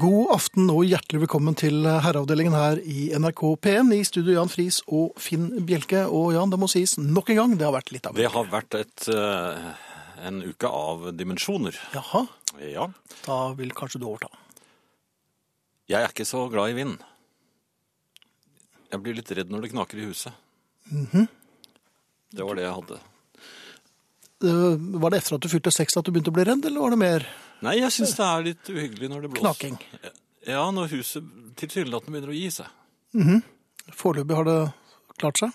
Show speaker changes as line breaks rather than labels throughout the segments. God aften og hjertelig velkommen til herreavdelingen her i NRK P1. I studio Jan Friis og Finn Bjelke. Og Jan, det må sies nok en gang, det har vært litt av en
Det har vært et, eh, en uke av dimensjoner.
Jaha,
Ja.
da vil kanskje du overta.
Jeg er ikke så glad i vind. Jeg blir litt redd når det knaker i huset.
Mhm.
Det var det jeg hadde.
Eh, Var det etter at du fylte seks at du begynte å bli redd, eller var det mer
Nei, jeg syns det er litt uhyggelig når det blåser.
knaking?
Ja, når huset tilsynelatende begynner å gi seg.
Foreløpig har det klart seg.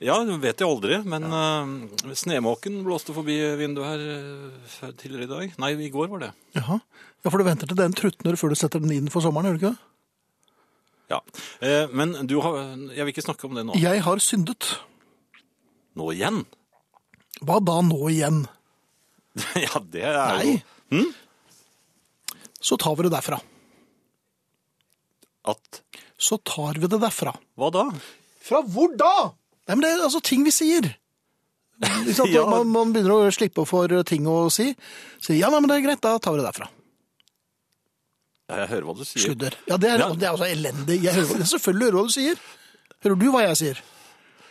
Ja, det vet jeg aldri, men eh, snemåken blåste forbi vinduet her eh, før- tidligere i dag. Nei, i går var det.
Jaha. Ja, for du venter til den trutner før du setter den inn for sommeren, gjør du ikke det?
Ja, eh, Men du har Jeg vil ikke snakke om det nå.
Jeg har syndet.
Nå igjen?
Hva da nå igjen?
ja, det er jo
Nei. Så tar vi det derfra.
at
Så tar vi det derfra.
Hva da?
Fra hvor da? Nei, men det er altså ting vi sier. Ikke sant?
Ja.
man, man begynner å slippe for eh, ting å si. Så ja, nei, men det er greit, da tar vi det derfra.
Ja, jeg hører hva du sier.
Sludder. Ja, det er,
Ja.
det er altså elendig. Jeg hører, jeg selvfølgelig hører hva du sier. Hører du hva jeg sier?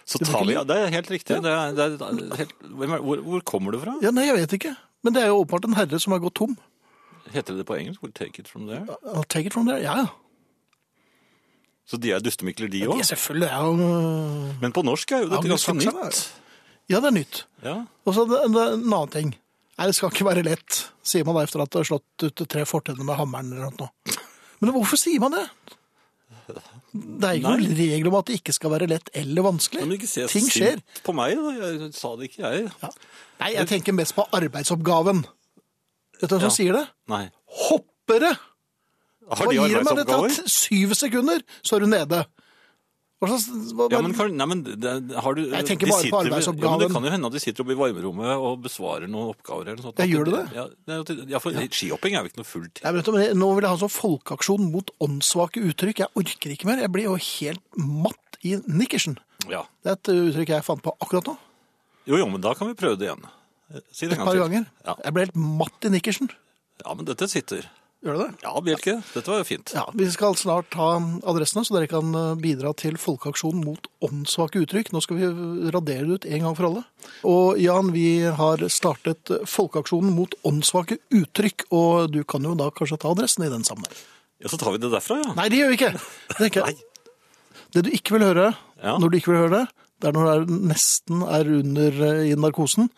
Så
blir
tar
ikke
vi, ja, det er helt riktig. Det er, det er, det er helt, hvem er, hvor, hvor kommer du fra?
Ja, nei, jeg vet ikke. Men det er jo åpenbart en herre som har gått tom.
Heter det det på engelsk? We'll take it from there.
I'll take it from there. Ja, ja.
Så de er dustemikler, de
Ja,
òg.
selvfølgelig. er eh, jo-
Men på norsk er jo dette
Ja, men
ganske
saksa, da.
nytt.
Ja, det er nytt.
Ja.
Og så det, det, er en annen ting. Nei, det skal ikke være lett, sier man da etter at det har slått ut tre fortenner med hammeren eller noe. Men hvorfor sier man det? Det er ikke
Nei.
noen regel om at det ikke skal være lett eller vanskelig.
Men du ikke se
Ting
sint
skjer.
På meg, da. Jeg sa det ikke, jeg.
Ja. Nei, jeg tenker mest på arbeidsoppgaven. Vet du hvem som
Ja.
sier det?
Nei.
Hoppere!
Har
Hva
de
gir det meg? Det tar
arbeidsoppgaver?
t- syv sekunder, så er du nede. Hva slags... Hva,
Ja, men, kan, nei, men det, har du,
Jeg tenker
de
bare på
sitter ved-
arbeidsoppgaven.
Ja, men det kan jo hende at de sitter oppe i varmerommet og besvarer noen oppgaver. eller noe sånt.
Ja, gjør du det?
Ja, det er jo til- ja, for Skihopping er jo ikke noe fullt.
Nei, men vet du, men nå vil jeg ha en sånn folkeaksjon mot åndssvake uttrykk. Jeg orker ikke mer. Jeg blir jo helt matt i nikkersen.
Ja.
Det er et uttrykk jeg fant på akkurat nå.
Jo, jo, men da kan vi prøve det igjen. Eh, Si det
Et
en gang
par
til.
ganger.
Ja.
Jeg ble helt matt i nikkersen.
ja, men dette sitter.
Gjør du det?
Ja, Bjelke, dette var jo fint.
Ja, Vi skal snart ta adressene, så dere kan eh, bidra til folkeaksjonen mot åndssvake uttrykk. Nå skal vi radere det ut en gang for alle. Og Jan, vi har startet folkeaksjonen mot åndssvake uttrykk, og du kan jo da kanskje ta adressen i den sammenheng.
Ja, så tar vi det derfra, ja.
Nei, det gjør vi ikke! Det, er ikke. det du ikke vil høre
Ja.
når du ikke vil høre det, det er når det er nesten er under eh, i narkosen.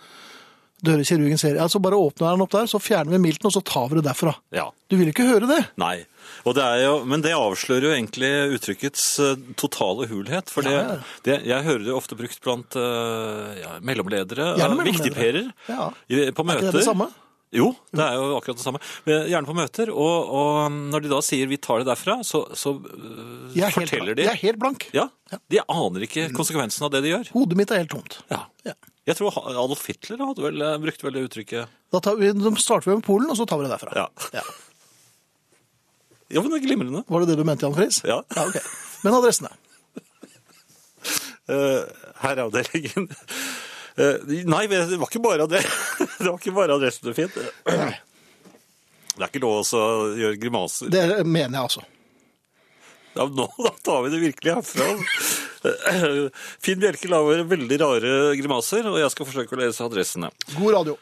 Du hører kirurgen sier ja, så bare åpner den opp der, så fjerner vi milten, og så tar vi det derfra.
Ja.
Du vil ikke høre det.
Nei. Og det er jo, men det avslører jo egentlig uttrykkets eh, totale hulhet. For det,
Ja, ja.
det, jeg hører det ofte brukt blant eh, ja, mellomledere,
Gjerne
eh,
mellomledere.
viktigperer,
Ja.
i- på møter.
det det samme?
Jo, det er jo akkurat det samme. Men Gjerne på møter. Og, og um, når de da sier 'vi tar det derfra', så, så eh,
Jeg er helt
forteller
blank.
de
Jeg er helt blank.
ja, De aner ikke konsekvensen av det de gjør.
Hodet mitt er helt tomt.
Ja.
Ja.
Jeg tror Adolf Hitler hadde vel, brukte vel det uttrykket.
Da, tar vi, da starter vi med Polen, og så tar vi det derfra.
Ja.
Ja.
Ja, men det er glimrende.
Var det det du mente, Jan Friis?
Ja.
ja ok. Men adressene.
Eh, herreavdelingen. Eh, nei, det var ikke bare det. Det var ikke bare adressen du fikk. Det er ikke lov også å gjøre grimaser.
Det mener jeg altså.
Ja, nå da tar vi det virkelig herfra. Finn Bjelke lager veldig rare grimaser, og jeg skal forsøke å lese adressene.
God radio.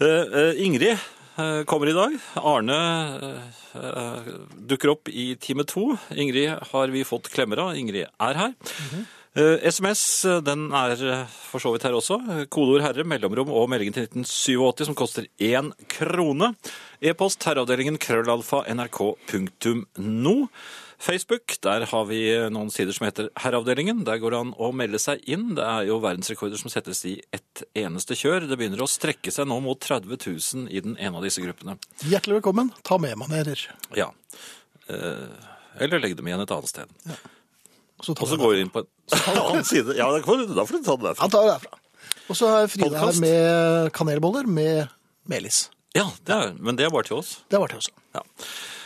Eh, eh, Ingrid eh, kommer i dag. Arne eh, eh, dukker opp i time to. Ingrid har vi fått klemmer av. Ingrid er her. Eh, SMS eh, den er eh, for så vidt her også. Eh, Kodeord 'herre', mellomrom og meldingen til 1987 som koster én krone. E-post herreavdelingen krøllalfa nrk.no. Facebook, der har vi noen sider som heter Herreavdelingen. Der går det an å melde seg inn. Det er jo verdensrekorder som settes i ett eneste kjør. Det begynner å strekke seg nå mot 30 000 i den ene av disse gruppene.
Hjertelig velkommen. Ta med manerer.
Ja. Eh, eller legg dem igjen et annet sted.
Så tar
Og så
vi
går vi inn på en annen side. Ja, da får du da får du ta det derfra.
Han tar det derfra. Og så er Frida
Podcast.
her med kanelboller med melis.
Ja, det er, men det er bare til oss.
Det var det også.
Ja.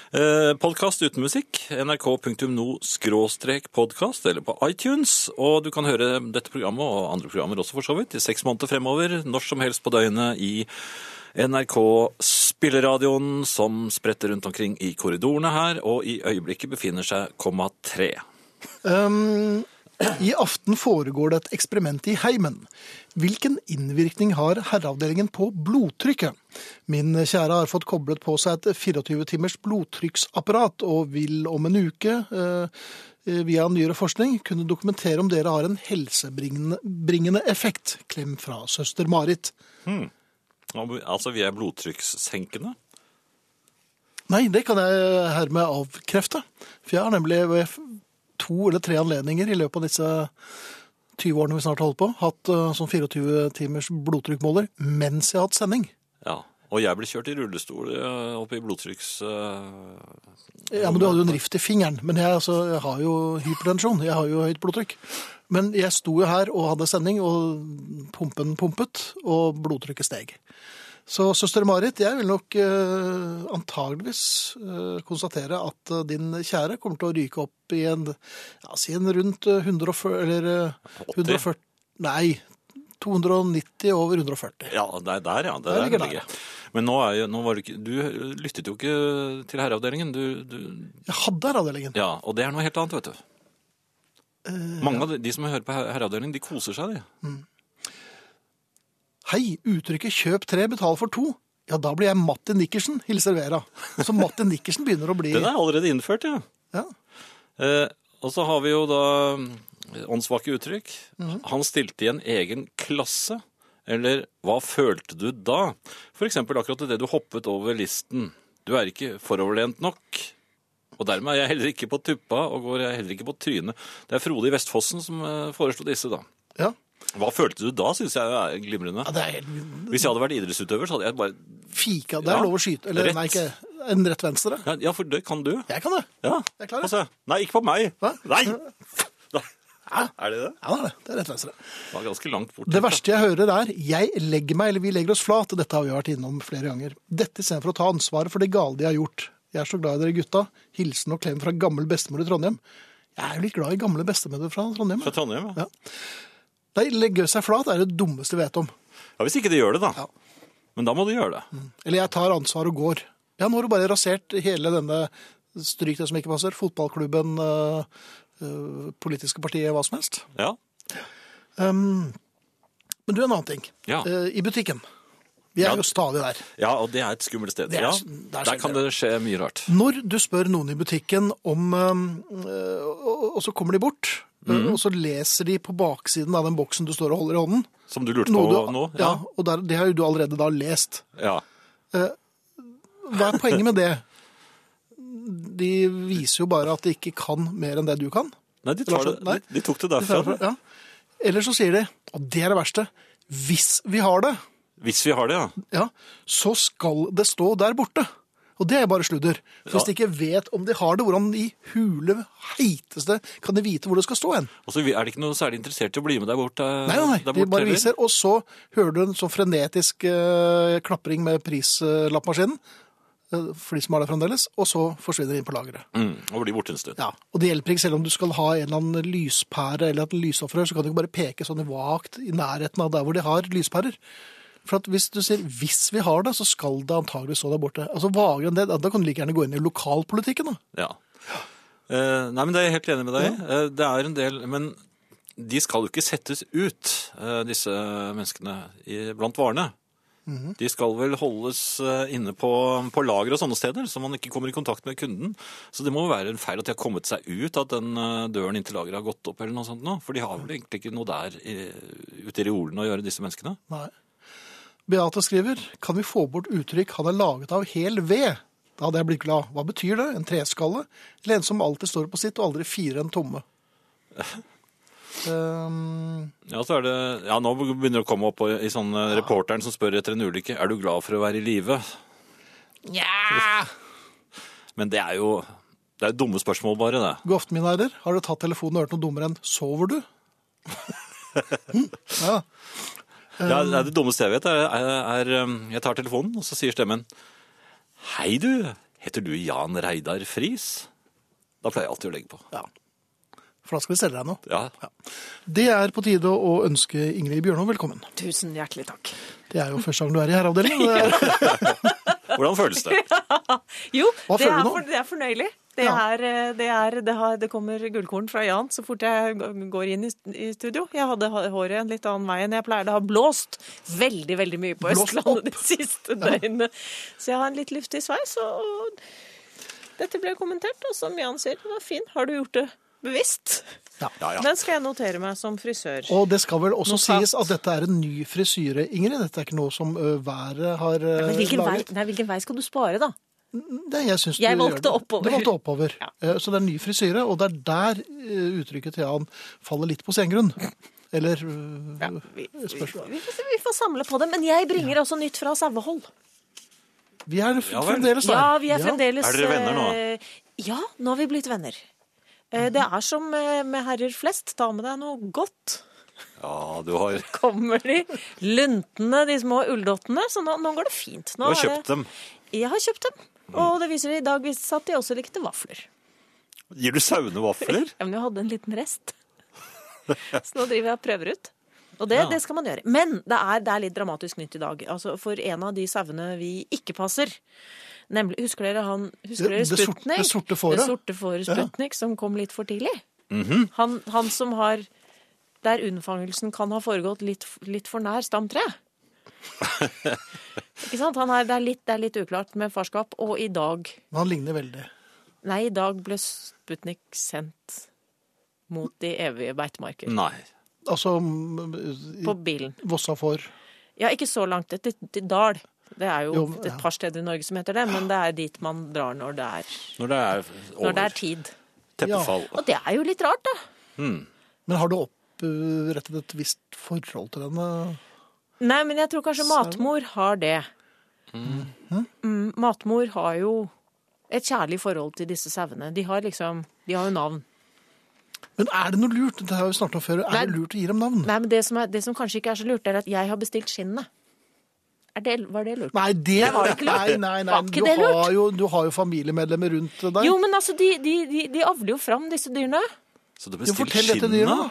Eh, Podkast uten musikk, nrk.no-podkast, eller på iTunes. Og du kan høre dette programmet og andre programmer også, for så vidt, i seks måneder fremover, når som helst på døgnet i NRK Spilleradioen som spretter rundt omkring i korridorene her, og i øyeblikket befinner seg komma tre.
Um, I aften foregår det et eksperiment i heimen. Hvilken innvirkning har herreavdelingen på blodtrykket? Min kjære har fått koblet på seg et 24-timers blodtrykksapparat, og vil om en uke, eh, via nyere forskning, kunne dokumentere om dere har en helsebringende bringende effekt. Klem fra søster Marit.
Altså, vi er blodtrykkssenkende.
Nei, det kan jeg hermed avkrefte. For jeg har nemlig ved to eller tre anledninger i løpet av disse 20 årene vi snart holder på, hatt eh, sånn 24-timers blodtrykkmåler mens jeg har hatt sending.
Ja. Og jeg ble kjørt i rullestol eh, opp i blodtrykks... eh,
Ja, men Du hadde jo en rift i fingeren. Men jeg, altså, jeg har jo hypertensjon. Jeg har jo høyt blodtrykk. Men jeg sto jo her og hadde sending, og pumpen pumpet, og blodtrykket steg. Så søster Marit, jeg vil nok eh, antageligvis eh, konstatere at eh, din kjære kommer til å ryke opp i en ja, si en rundt eh, 140 Eller eh,
80?
140 Nei, 290 over 140.
Ja, det er der, ja. Det
Der
er der
ligger
det
der,
ligger. Men nå er jo, nå var det ikke, du lyttet jo ikke til herreavdelingen. Du, du,
Jeg hadde herreavdelingen.
ja, og det er noe helt annet, vet du.
Eh,
Mange av de, de som hører på her- herreavdelingen, de koser seg, de.
Hei, uttrykket 'kjøp tre, betal for to'. Ja, da blir jeg Matti Nikkersen, hilser Vera. Så Matti Nikkersen begynner å bli
Den er allerede innført, ja.
ja.
Eh, og så har vi jo da mm, åndssvake uttrykk.
Mhm.
Han stilte i en egen klasse. Eller hva følte du da? For eksempel akkurat det du hoppet over listen. Du er ikke foroverlent nok. Og dermed er jeg heller ikke på tuppa, og går jeg heller ikke på trynet. Det er Frode i Vestfossen som eh, foreslo disse, da.
Ja.
Hva følte du da, syns jeg er glimrende.
ja, det er helt
Hvis jeg hadde vært idrettsutøver, så hadde jeg bare
fika. Det er
Ja.
lov å skyte. Eller
Rett.
nei, ikke en rett venstre.
Ja, Ja, for det kan du.
Jeg kan det.
Ja.
Jeg klarer det.
Altså, nei, ikke på meg.
Hva?
Nei! Nei. Er det det?
Ja, det er det. Det er rett venstre.
Det var ganske langt bort.
Det verste jeg hører er 'jeg legger meg' eller 'vi legger oss flat'. Dette har vi vært innom flere ganger. Dette istedenfor å ta ansvaret for det gale de har gjort. Jeg er så glad i dere gutta. Hilsen og klem fra gammel bestemor i Trondheim. Jeg er jo litt glad i gamle bestemødre fra Trondheim.
Fra
jeg.
Trondheim, ja.
Ja. Nei, legge seg flat er det dummeste jeg vet om.
ja. Hvis ikke de gjør det, da.
Ja. Mm.
Men da må de gjøre det.
Eller jeg tar ansvar og går. Ja, nå har du bare rasert hele denne stryk det som ikke passer, fotballklubben, øh, øh, politiske partiet, hva som helst.
Ja.
Um, men du, en annen ting.
Ja.
Eh, I butikken. Vi er
Ja.
jo stadig der.
ja, og det er et skummelt sted.
Det er-
ja.
det er
Der kan det skje mye rart.
Når du spør noen i butikken om øhm, øh, og, og så kommer de bort,
Mhm.
øh, og så leser de på baksiden av den boksen du står og holder i hånden
Som du lurte
noe
på
du,
nå?
Ja, og der, det har jo du allerede da lest.
ja.
Hva er poenget med det? De viser jo bare at de ikke kan mer enn det du kan.
Nei, de, tar det,
Lars, nei.
de- de tok det derfra.
Ja. Eller så sier de, og det er det verste, hvis vi har det,
Hvis vi har det, ja.
ja, så skal det stå der borte. Og det er bare sludder. For Hvis
Ja.
de ikke vet om de har det, hvordan i hule heiteste kan de vite hvor det skal stå hen?
Og så er det ikke noe særlig interessert i å bli med der bort. eh,
Nei, nei, nei,
der
de
bort
bare
heller.
viser, og så hører du en sånn frenetisk eh, klapring med prislappmaskinen, eh, for de som har det fremdeles, og så forsvinner de inn på lageret.
Mm, og blir borte en stund.
Ja, og det hjelper ikke selv om du skal ha en eller annen lyspære eller et lysofferrør, så kan du ikke bare peke sånn vagt i nærheten av der hvor de har lyspærer. For at hvis du sier 'hvis vi har det', så skal det antageligvis stå der borte. Altså Vagere enn det, da kan du like gjerne gå inn i lokalpolitikken, da.
Ja. Eh, nei, men det er jeg helt enig med deg i. Eh, det er en del, men de skal jo ikke settes ut, eh, disse menneskene i, blant varene. De skal vel holdes eh, inne på, på lager og sånne steder, så man ikke kommer i kontakt med kunden. Så det må jo være en feil at de har kommet seg ut, at den eh, døren inn til lageret har gått opp eller noe sånt nå. For de har vel egentlig ikke noe der i, ute i reolene å gjøre, disse menneskene.
Nei. Beate skriver 'Kan vi få bort uttrykk han er laget av hel ved'? Da hadde jeg blitt glad. Hva betyr det? En treskalle? Eller en som alltid står på sitt, og aldri fire en tomme? um,
Ja, så er det, ja, nå begynner det å komme opp i, i sånn eh, reporteren som spør etter en ulykke. Er du glad for å være i live?
Nja
Men det er jo det er jo dumme spørsmål, bare det.
God aften, mine herrer. Har dere tatt telefonen og hørt noe dummere enn 'sover du'? Hm, ja.
Det, er, det, er det dummeste jeg vet, er, er, er um, Jeg tar telefonen, og så sier stemmen Hei, du. Heter du Jan Reidar Friis? Da pleier jeg alltid å legge på.
ja. For da skal vi selge deg noe.
Ja.
Det er på tide å ønske Ingrid Bjørnov velkommen.
Tusen hjertelig takk.
Det er jo første gang du er i herreavdelingen. Det er-
Hvordan føles det?
Jo,
Hva
det
føler
er,
du nå?
for, det er fornøyelig. Det,
Ja.
er, eh, det, er, det, har, det kommer gullkorn fra Jan så fort jeg g- går inn i st- i studio. Jeg hadde ha- håret en litt annen vei enn jeg pleier. Det har blåst veldig veldig mye på
Blåst opp.
Østlandet de siste døgnene. Så jeg har en litt luftig sveis. og- Og dette ble kommentert, og som Jan sier, det var fin. Har du gjort det bevisst?
Ja.
Den skal jeg notere meg som frisør.
Og det skal vel også
Notat.
sies at dette er en ny frisyre, Ingrid. Dette er ikke noe som ø, været har ø,
Men hvilken vei,
eh, laget.
nei, hvilken vei skal du spare, da?
Det, jeg syns
Jeg
du gjør
valgte
det.
oppover.
Du valgte oppover.
Ja.
Eh, Så det er en ny frisyre, og det er der eh, uttrykket til Jan faller litt på sengrunn. Eller eh,
Vi, vi, vi,
Spørsmål.
får se, vi får samle på det. Men jeg bringer altså nytt fra sauehold.
Vi er f-
Ja vel.
fremdeles der.
Ja, vi er fremdeles
Er dere venner nå?
eh, Ja, nå har vi blitt venner. Eh, Det er som eh, med herrer flest, ta med deg noe godt.
Ja, du har,
Kommer de luntene, de små ulldottene. Så nå, nå går det fint.
du
Nå
har
er det-
kjøpt dem.
Jeg har kjøpt dem. Og det viser i dag viste seg at de også likte vafler.
Gir du sauene vafler?
Ja, men jeg hadde en liten rest. Så nå driver jeg og prøver ut. Og det,
Ja.
det skal man gjøre. Men det er, det er litt dramatisk nytt i dag. Altså, for en av de sauene vi ikke passer Nemlig, Husker dere han husker
Det-
dere
det sorte-
Sputnik?
det sorte fåret. Mhm.
Det sorte fåret Sputnik som kom litt for tidlig. han, han som har Der unnfangelsen kan ha foregått litt, f- litt for nær stamtreet. ikke sant? Han er, det, er litt, det er litt uklart med farskap. Og i dag
Men han ligner veldig.
Nei, i dag ble Sputnik sendt mot de evige beitemarker.
Nei.
Altså m- i
På bilen.
Vossa får
Ja, ikke så langt. Til, til Dal. Det er jo,
Jo, ja.
et par steder i Norge som heter det, men det er dit man drar når det er,
Når det er
når det er
over.
tid.
Teppefall.
Og det er jo litt rart, da.
Men har du opprettet et visst forhold til denne
Nei, men jeg tror kanskje matmor har det. Mm, matmor har jo et kjærlig forhold til disse sauene. De har liksom De har jo navn.
Men er det noe lurt? Det har vi snart om før. Er
Nei.
det lurt å gi dem navn? Nei,
Nei, men det som, er, det som kanskje ikke er så lurt, er at jeg har bestilt skinnene. Er det, var det lurt?
det
var det ikke lurt.
Nei, nei, nei.
Var ikke
Du,
det lurt?
har jo, du har jo familiemedlemmer rundt deg.
Jo, men altså, de, de, de, de avler jo fram disse dyrene.
Så du
Jo,
bestiller
fortell dette dyret, da.
skinnene?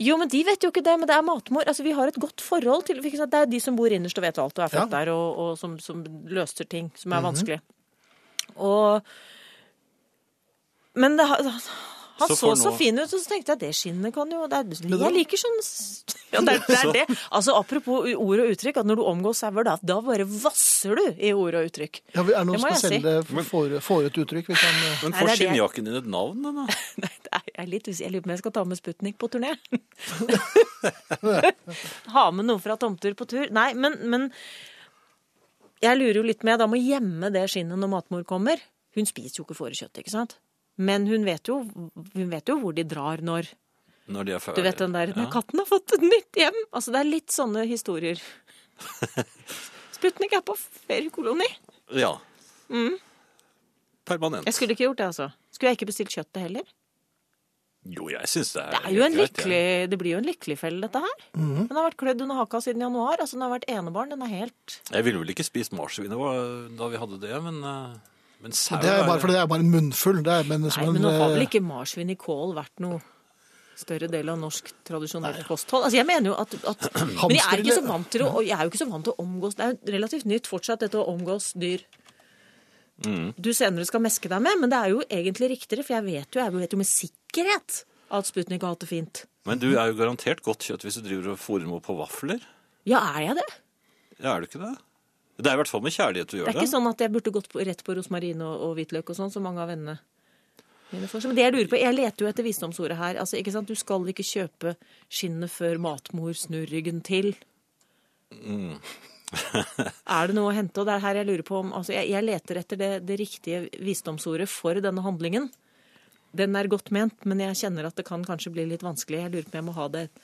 Jo, men de vet jo ikke det, men det er matmor. Altså, vi har et godt forhold til ikke sant? Det er de som bor innerst og vet alt og er født
Ja.
der, og, og som, som løser ting som er vanskelig. Og Men det, har- han
Så
så
for
så,
nå-
fin ut, og så tenkte jeg det skinnet kan jo det er,
da?
Jeg liker sånn ja, det, er, det er det. Altså, Apropos ord og uttrykk, at når du omgås sauer, da, da bare vasser du i ord og uttrykk.
Ja, er det
Det
noen
må jeg
spesielle fore- fåreuttrykk vi kan eh,
Men får
Nei, det er det jeg-
skinnjakken din et navn, da?
Nei, det er, jeg er litt usikker. Jeg lurer på om jeg skal ta med Sputnik på turné. ha med noe fra tomter på tur. Nei, men, men jeg lurer jo litt med. Da må gjemme det skinnet når matmor kommer. Hun spiser jo ikke fårekjøtt, ikke sant? Men hun vet, jo, hun vet jo hvor de drar når.
Når de er ferdige.
Du vet den der 'Nei, katten har fått et nytt hjem'. Altså, det er litt sånne historier. Sputnik er på feriekoloni.
Ja. Permanent.
Mm. Jeg skulle ikke gjort det, altså. Skulle jeg ikke bestilt kjøttet heller?
Jo, jeg syns det er
Det, er jo en
helt greit,
lykkelig, det blir jo en lykkelig felle, dette her.
Mhm.
Den har vært klødd under haka siden januar. altså Den har vært enebarn. Den er helt
Jeg, jeg ville vel ikke spist marsvinet hva- da vi hadde det, men, eh, men sau
Det er
er-
bare, for det er bare en munnfull. Det er, men, som
Nei, men nå har
en,
vel
eh,
ikke marsvin i kål vært noe større del av norsk tradisjonelt kosthold. Altså, jeg mener jo at, at Men jeg er, ikke så vant til å, og jeg er jo ikke så vant til å omgås Det er jo relativt nytt fortsatt, dette å omgås dyr
Mm.
du senere skal meske deg med. Men det er jo egentlig riktigere, for jeg vet jo, jeg vet jo med sikkerhet at Sputnik har hatt det fint.
Men du er jo garantert godt kjøtt hvis du driver og fôrer noe på vafler.
Ja, er jeg det?
Ja, er du ikke det? Det er i hvert fall med kjærlighet du gjør
Det
det.
er ikke sånn at jeg burde gått på, rett på rosmarin og, og hvitløk og sånn, som mange av vennene mine får. Men det jeg lurer på, jeg leter jo etter visdomsordet her. Altså, ikke sant? Du skal ikke kjøpe skinnet før matmor snur ryggen til.
Mm.
er det noe å hente? Og det er her jeg lurer på om altså, jeg, jeg leter etter det, det riktige visdomsordet for denne handlingen. Den er godt ment, men jeg kjenner at det kan kanskje bli litt vanskelig. Jeg lurer på om jeg må ha det et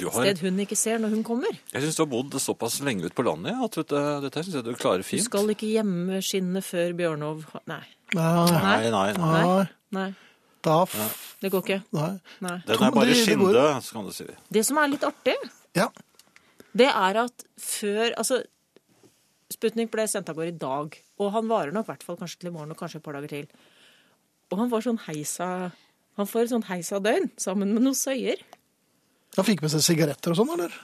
Du har,
sted hun ikke ser når hun kommer.
jeg syns du har bodd såpass lenge ute på landet ja, at vet du, dette syns jeg du klarer
Du
fint.
skal ikke gjemme skinnet før Bjørnov Nei.
Nei,
Nei, nei. nei.
Nei.
Nei. Nei.
da f...
Det går ikke.
Nei.
Nei.
Den
Tom,
er bare
det- det går-
skinde, så kan du si.
Det som er litt artig,
Ja.
det er at før Altså, Sputnik ble sendt av gårde i dag, og han varer nok i hvert fall kanskje til i morgen og kanskje et par dager til. Og han var sånn heisa Han får sånn heisa døgn sammen med noen søyer.
Han fikk med seg sigaretter og sånn, eller?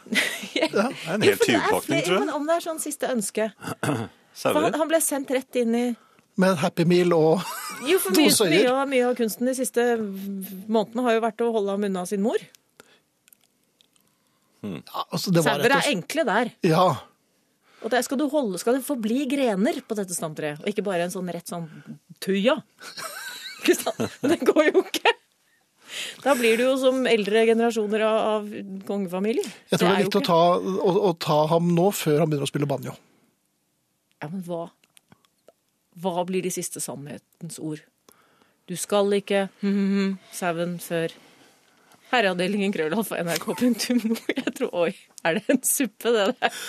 Ja, det er en helt.
Helt
For det er
tyvpakning,
flere-
tror jeg.
Men om det er sånn siste ønske. For han,
Sauer.
han ble sendt rett inn i
Med en Happy Meal og
Jo, for
To
mye,
søyer.
mye, av, mye av kunsten de siste månedene har jo vært å holde ham unna sin mor.
ja, altså, det var
Sauer
rett og
er
slett.
enkle der.
Ja.
Og der skal, du holde, skal det forbli grener på dette stamtreet, og ikke bare en sånn rett sånn tuja. Ikke sant? Men det går jo ikke. Da blir du jo som eldre generasjoner av, av kongefamilier.
Jeg tror det er
jo
viktig å
ikke-
ta, å, å ta ham nå, før han begynner å spille banjo.
Ja, men hva? Hva blir de siste sannhetens ord? Du skal ikke mhm, sauen før Herreavdelingen krøllalf og nrk.no. Jeg tror Oi, er det en suppe, det der?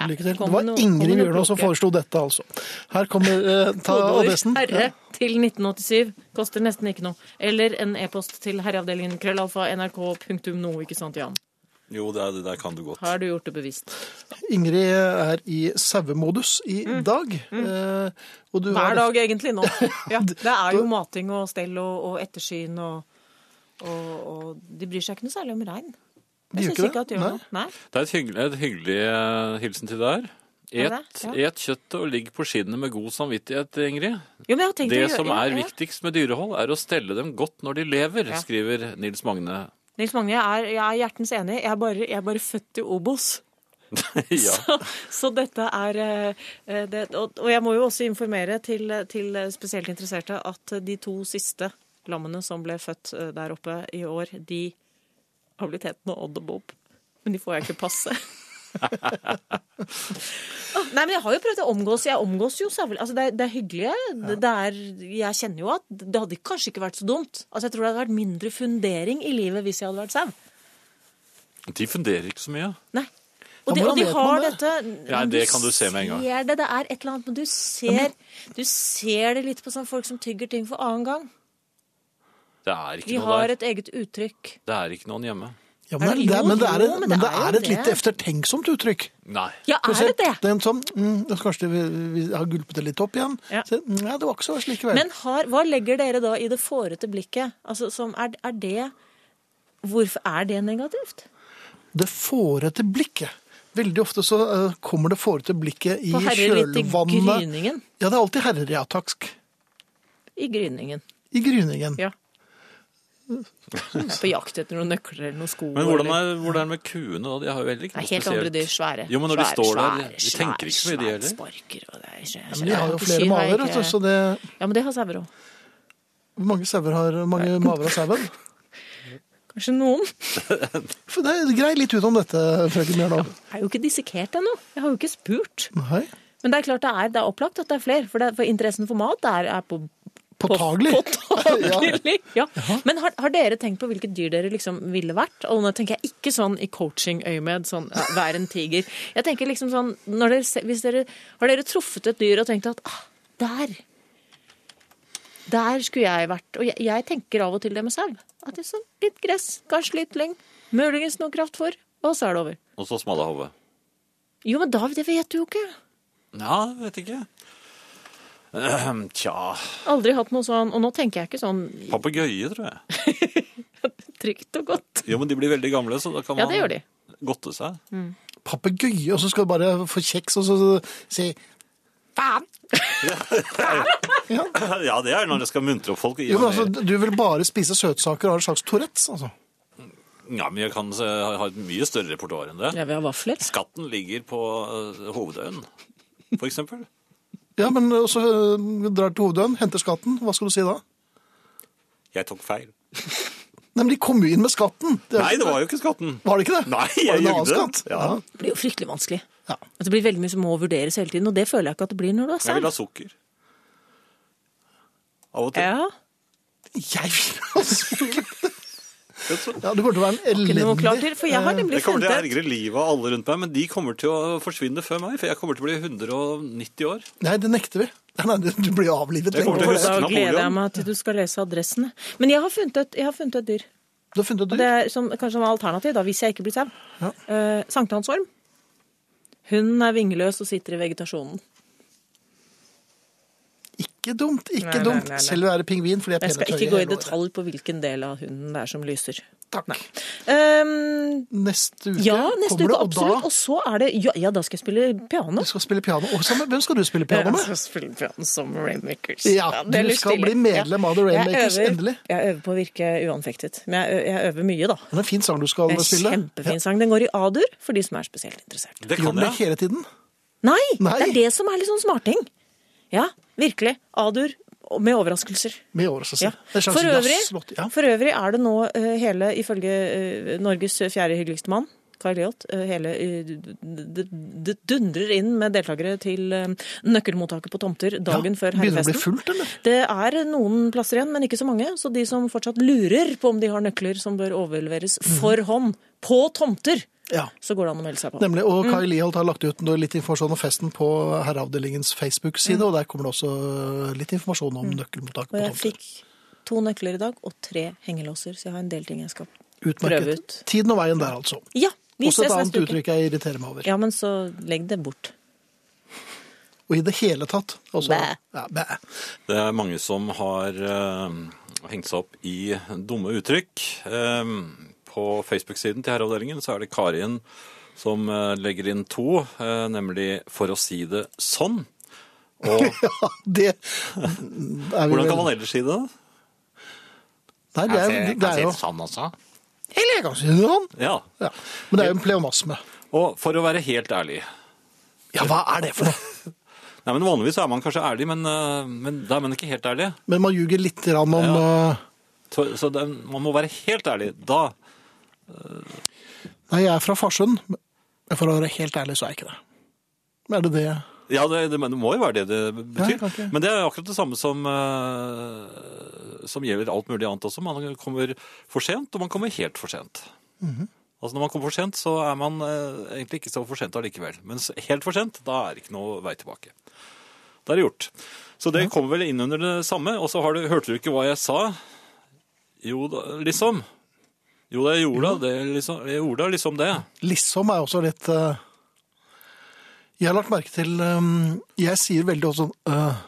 Ja,
Lykke til.
kom
Det var
med noe- kom med
Ingrid
noe
Bjørnaa som
kloke.
foreslo dette, altså. Her kommer eh, ta
Kodeord
adressen.
herre
Ja.
til 1987. Koster nesten ikke noe. Eller en e-post til herreavdelingen krøllalfa nrk.no, ikke sant, Jan?
Jo, det, er, det der kan du godt.
Har du gjort det bevisst?
Ingrid er i sauemodus i dag. eh, og du har-
Mm, Hver dag egentlig nå. Ja, det er jo mating og stell og, og ettersyn og, og, og De bryr seg ikke noe særlig om regn.
De
Jeg
gjør
syns
ikke
ikke at
det?
de
Nei.
gjør noe. Nei.
Det er et hyggelig, et hyggelig eh, hilsen til deg her.
Er
Et,
det? Ja.
et kjøttet og ligg på skinnet med god samvittighet, Ingrid.
Jo, men jeg har tenkt
Det
å gjøre
som
ja,
er
ja.
viktigst med dyrehold, er å stelle dem godt når de lever,
Ja.
skriver Nils Magne.
Nils Magne, jeg er, jeg er hjertens enig. Jeg er bare, jeg er bare født i Obos.
ja.
Så, så dette er eh, det, og, og jeg må jo også informere til, til spesielt interesserte at de to siste lammene som ble født eh, der oppe i år, de har blitt hetende Odd og Bob. Men de får jeg ikke passe. Nei, men jeg har jo prøvd å omgås. Jeg omgås jo sauer. Altså, det, er- det er hyggelig. Det, det er, jeg kjenner jo at det hadde kanskje ikke vært så dumt. Altså, jeg tror det hadde vært mindre fundering i livet hvis jeg hadde vært sau.
De funderer ikke så mye.
Nei. Og
Ja,
de,
hvordan
og de
vet man
har
det?
dette
Ja, det kan du se med en gang.
ser det, det er et eller annet, men du ser, du ser det litt på sånn folk som tygger ting for annen gang.
Det er ikke
De
noe
har
der.
et eget uttrykk.
Det er ikke noen hjemme.
Ja, men,
Er det
det, er- men det er,
jo,
et- men det er et
jo
litt
det.
eftertenksomt uttrykk.
Nei.
Ja,
Skal
er
vi
det
se,
det?
er en sånn, mm, så kanskje vi, vi har gulpet det litt opp igjen.
Ja.
Så, mm, ja, det var ikke så slik vel.
Men har, hva legger dere da i det fårete blikket? Altså, som er, er det Hvorfor er det negativt?
det fårete blikket. Veldig ofte så eh, kommer det fårete blikket i
På herrer litt i
kjølvannet.
gryningen.
Ja, det er alltid herrer, ja, takk.
I gryningen,
I gryningen.
ja. Jeg er på jakt etter noen nøkler eller noen sko.
Men hvordan
eller-
er, hvordan er det med kuene? da? De har jo heller ikke
Nei,
noe
helt
spesielt.
andre dyr. Svære.
Jo, men når
svære,
de står der,
svære,
de tenker ikke så mye, de
svære
heller.
Sparker, og det er,
Men de har jo flere maver, vet du, så det
Ja, men det har sauer òg.
Hvor mange sauer har mange maver av sauen?
Kanskje noen.
For det er- Grei litt ut om dette, frøken Bjørnov.
Jeg er jo ikke dissekert ennå. Jeg har jo ikke spurt.
Nei.
Men det er klart det er, det er opplagt at det er flere, for, det er, for interessen for mat er, er på
Påtagelig.
Påtagelig, ja. Men har, har dere tenkt på hvilket dyr dere liksom ville vært? Og nå tenker jeg ikke sånn i coaching-øyemed, sånn ja, vær en tiger. Jeg tenker liksom sånn, når dere, se- hvis dere, har dere truffet et dyr og tenkt at ah, der, der skulle jeg vært. Og jeg, jeg tenker av og til det med sau. At det er sånn litt gress, kanskje litt lyng, muligens noe kraftfôr, og så er det over.
Og så smalle hode.
Jo, men da, det vet du jo ikke.
Ja, jeg vet ikke. Ehm, tja
Aldri hatt noe sånn, og nå tenker jeg ikke sånn
Papegøye, tror jeg.
trygt og godt.
Jo, men de blir veldig gamle, så da kan
Ja,
man
det gjør de.
godte seg.
Papegøye, og så skal du bare få kjeks og så si Faen!
Ja, det er når jeg skal muntre opp folk. og gi
Jo, men
meg mer.
altså, du vil bare spise søtsaker og har en slags Tourettes, altså.
Ja, men jeg kan se- ha ha et mye større repertoar enn det.
Jeg vil ha vafler.
Skatten ligger på eh, hovedøyen, for eksempel.
Ja, men øh, så øh, drar du til Hovedøen, henter skatten. Hva skal du si da?
Jeg tok feil.
Nei, men de kom jo inn med skatten. er-
Nei, det var jo ikke skatten.
Var det ikke det?
Nei,
Var
jeg
det en annen
jugde.
skatt?
Ja.
Det blir jo fryktelig vanskelig.
Ja.
At det blir veldig mye som må vurderes hele tiden, og det føler jeg ikke at det blir når du er
Jeg vil
selv.
ha sukker. Av og til.
Ja,
Jeg vil ha sukker.
Det tror jeg.
Ja, du burde være en
ikke noe klart
elendig
til, for jeg har nemlig
Jeg kommer
funnet
til å
et
ergre livet av alle rundt meg, men de kommer til å forsvinne før meg, for jeg kommer til å bli 190 år.
Nei, det nekter vi. Nei, nei, du- du blir jo avlivet
Jeg kommer
lenge. før
til å huske
det.
Da
Napoleon.
gleder jeg meg til du skal lese adressene. Men jeg har funnet et, jeg har funnet et dyr.
Du har funnet et
Det
dyr.
er som, kanskje som alternativ, da, hvis jeg ikke blir sau.
Ja.
Eh, Sankthansorm. Hun er vingeløs og sitter i vegetasjonen.
Ikke dumt, ikke
Nei, nei,
dumt.
nei, nei.
Selv å være pingvin, for de er
Jeg
pene
skal
tøyer.
ikke gå i
hele året.
detalj på hvilken del av hunden det er som lyser.
Takk.
Ehm,
Neste uke
ja, neste
kommer
uke,
det, og
absolutt. Og så er det Ja, ja da skal jeg spille piano.
da du skal spille piano. Og sammen- hvem skal du spille piano med?
Jeg skal spille piano som Rainmakers.
Ja,
det er
du
lyst
skal
til.
bli medlem av The
Jeg
Rainmakers,
øver-
endelig.
Jeg øver på å virke uanfektet. Men jeg, ø- jeg øver mye, da.
Det er en fin sang du skal
Det er en
spille.
kjempefin sang. Den går i A-dur, for de som er spesielt interessert.
Det
Gjør
kan
du det
jeg.
hele tiden?
Nei,
Nei.
det er det som er litt sånn smarting. Ja, virkelig. A-dur og med overraskelser.
Med overraskelse.
Ja.
Det er en slags
For, øvrig,
jazzlåt, ja.
for øvrig er det nå eh, hele, ifølge eh, Norges fjerde hyggeligste mann, Carl Leot, eh, hele eh, Det det dundrer inn med deltakere til eh, nøkkelmottaket på tomter dagen før
Begynner det å
herrefesten.
bli fullt, eller?
Det er noen plasser igjen, men ikke så mange. Så de som fortsatt lurer på om de har nøkler som bør overleveres
Mm.
for hånd på tomter,
Ja.
så går det an å melde seg på.
Nemlig, og Kai Liholt har lagt ut noe- litt informasjon om festen på herreavdelingens Facebook-side, og der kommer det også litt informasjon om nøkkelmottak
Mm. Og
på
jeg
tomter.
fikk to nøkler i dag og tre hengelåser, så jeg har en del ting jeg skal prøve
Utmerket.
ut.
Tiden og veien der, altså.
Ja, vi
Også et
ses
annet
neste uke.
uttrykk jeg irriterer meg over.
Ja, men så legg det bort.
Og i det hele tatt. Altså,
Bæ.
Ja, bæ.
Det er mange som har eh, hengt seg opp i dumme uttrykk. Eh, på Facebook-siden til Herreavdelingen så er det Karin som eh, legger inn to, eh, nemlig 'for å si det sånn'. Og
Ja, det er vi
hvordan kan
vel-
man ellers si det? da?
Nei, det er, det er jo
sånn også.
Eller jeg kan si det sånn.
Ja.
Ja. Men det er jo en pleonasme.
Og for å være helt ærlig
Ja, hva er det for noe?
Nei, men Vanligvis er man kanskje ærlig, men, eh, men da er man ikke helt ærlig.
Men man ljuger litt grann om eh,
Så, så det, man må være helt ærlig. Da
Nei, jeg er fra Farsund. men For å være helt ærlig, så er jeg ikke det. Men Er det det
Ja, det, det, men det må jo være det det
Nei,
betyr.
kan ikke.
men det er akkurat det samme som, eh, som gjelder alt mulig annet også. Man kommer for sent, og man kommer helt for sent. Altså Når man kommer for sent, så er man eh, egentlig ikke så for sent allikevel. Mens helt for sent, da er det ikke noe vei tilbake. Da er det gjort. Så det kommer vel inn under det samme. Og så har du, hørte du ikke hva jeg sa? Jo da, liksom. Jo da, jeg gjorde da, det. Liksom, jeg gjorde da liksom det.
Liksom er også litt eh, Jeg har lagt merke til eh, Jeg sier veldig også sånn øh,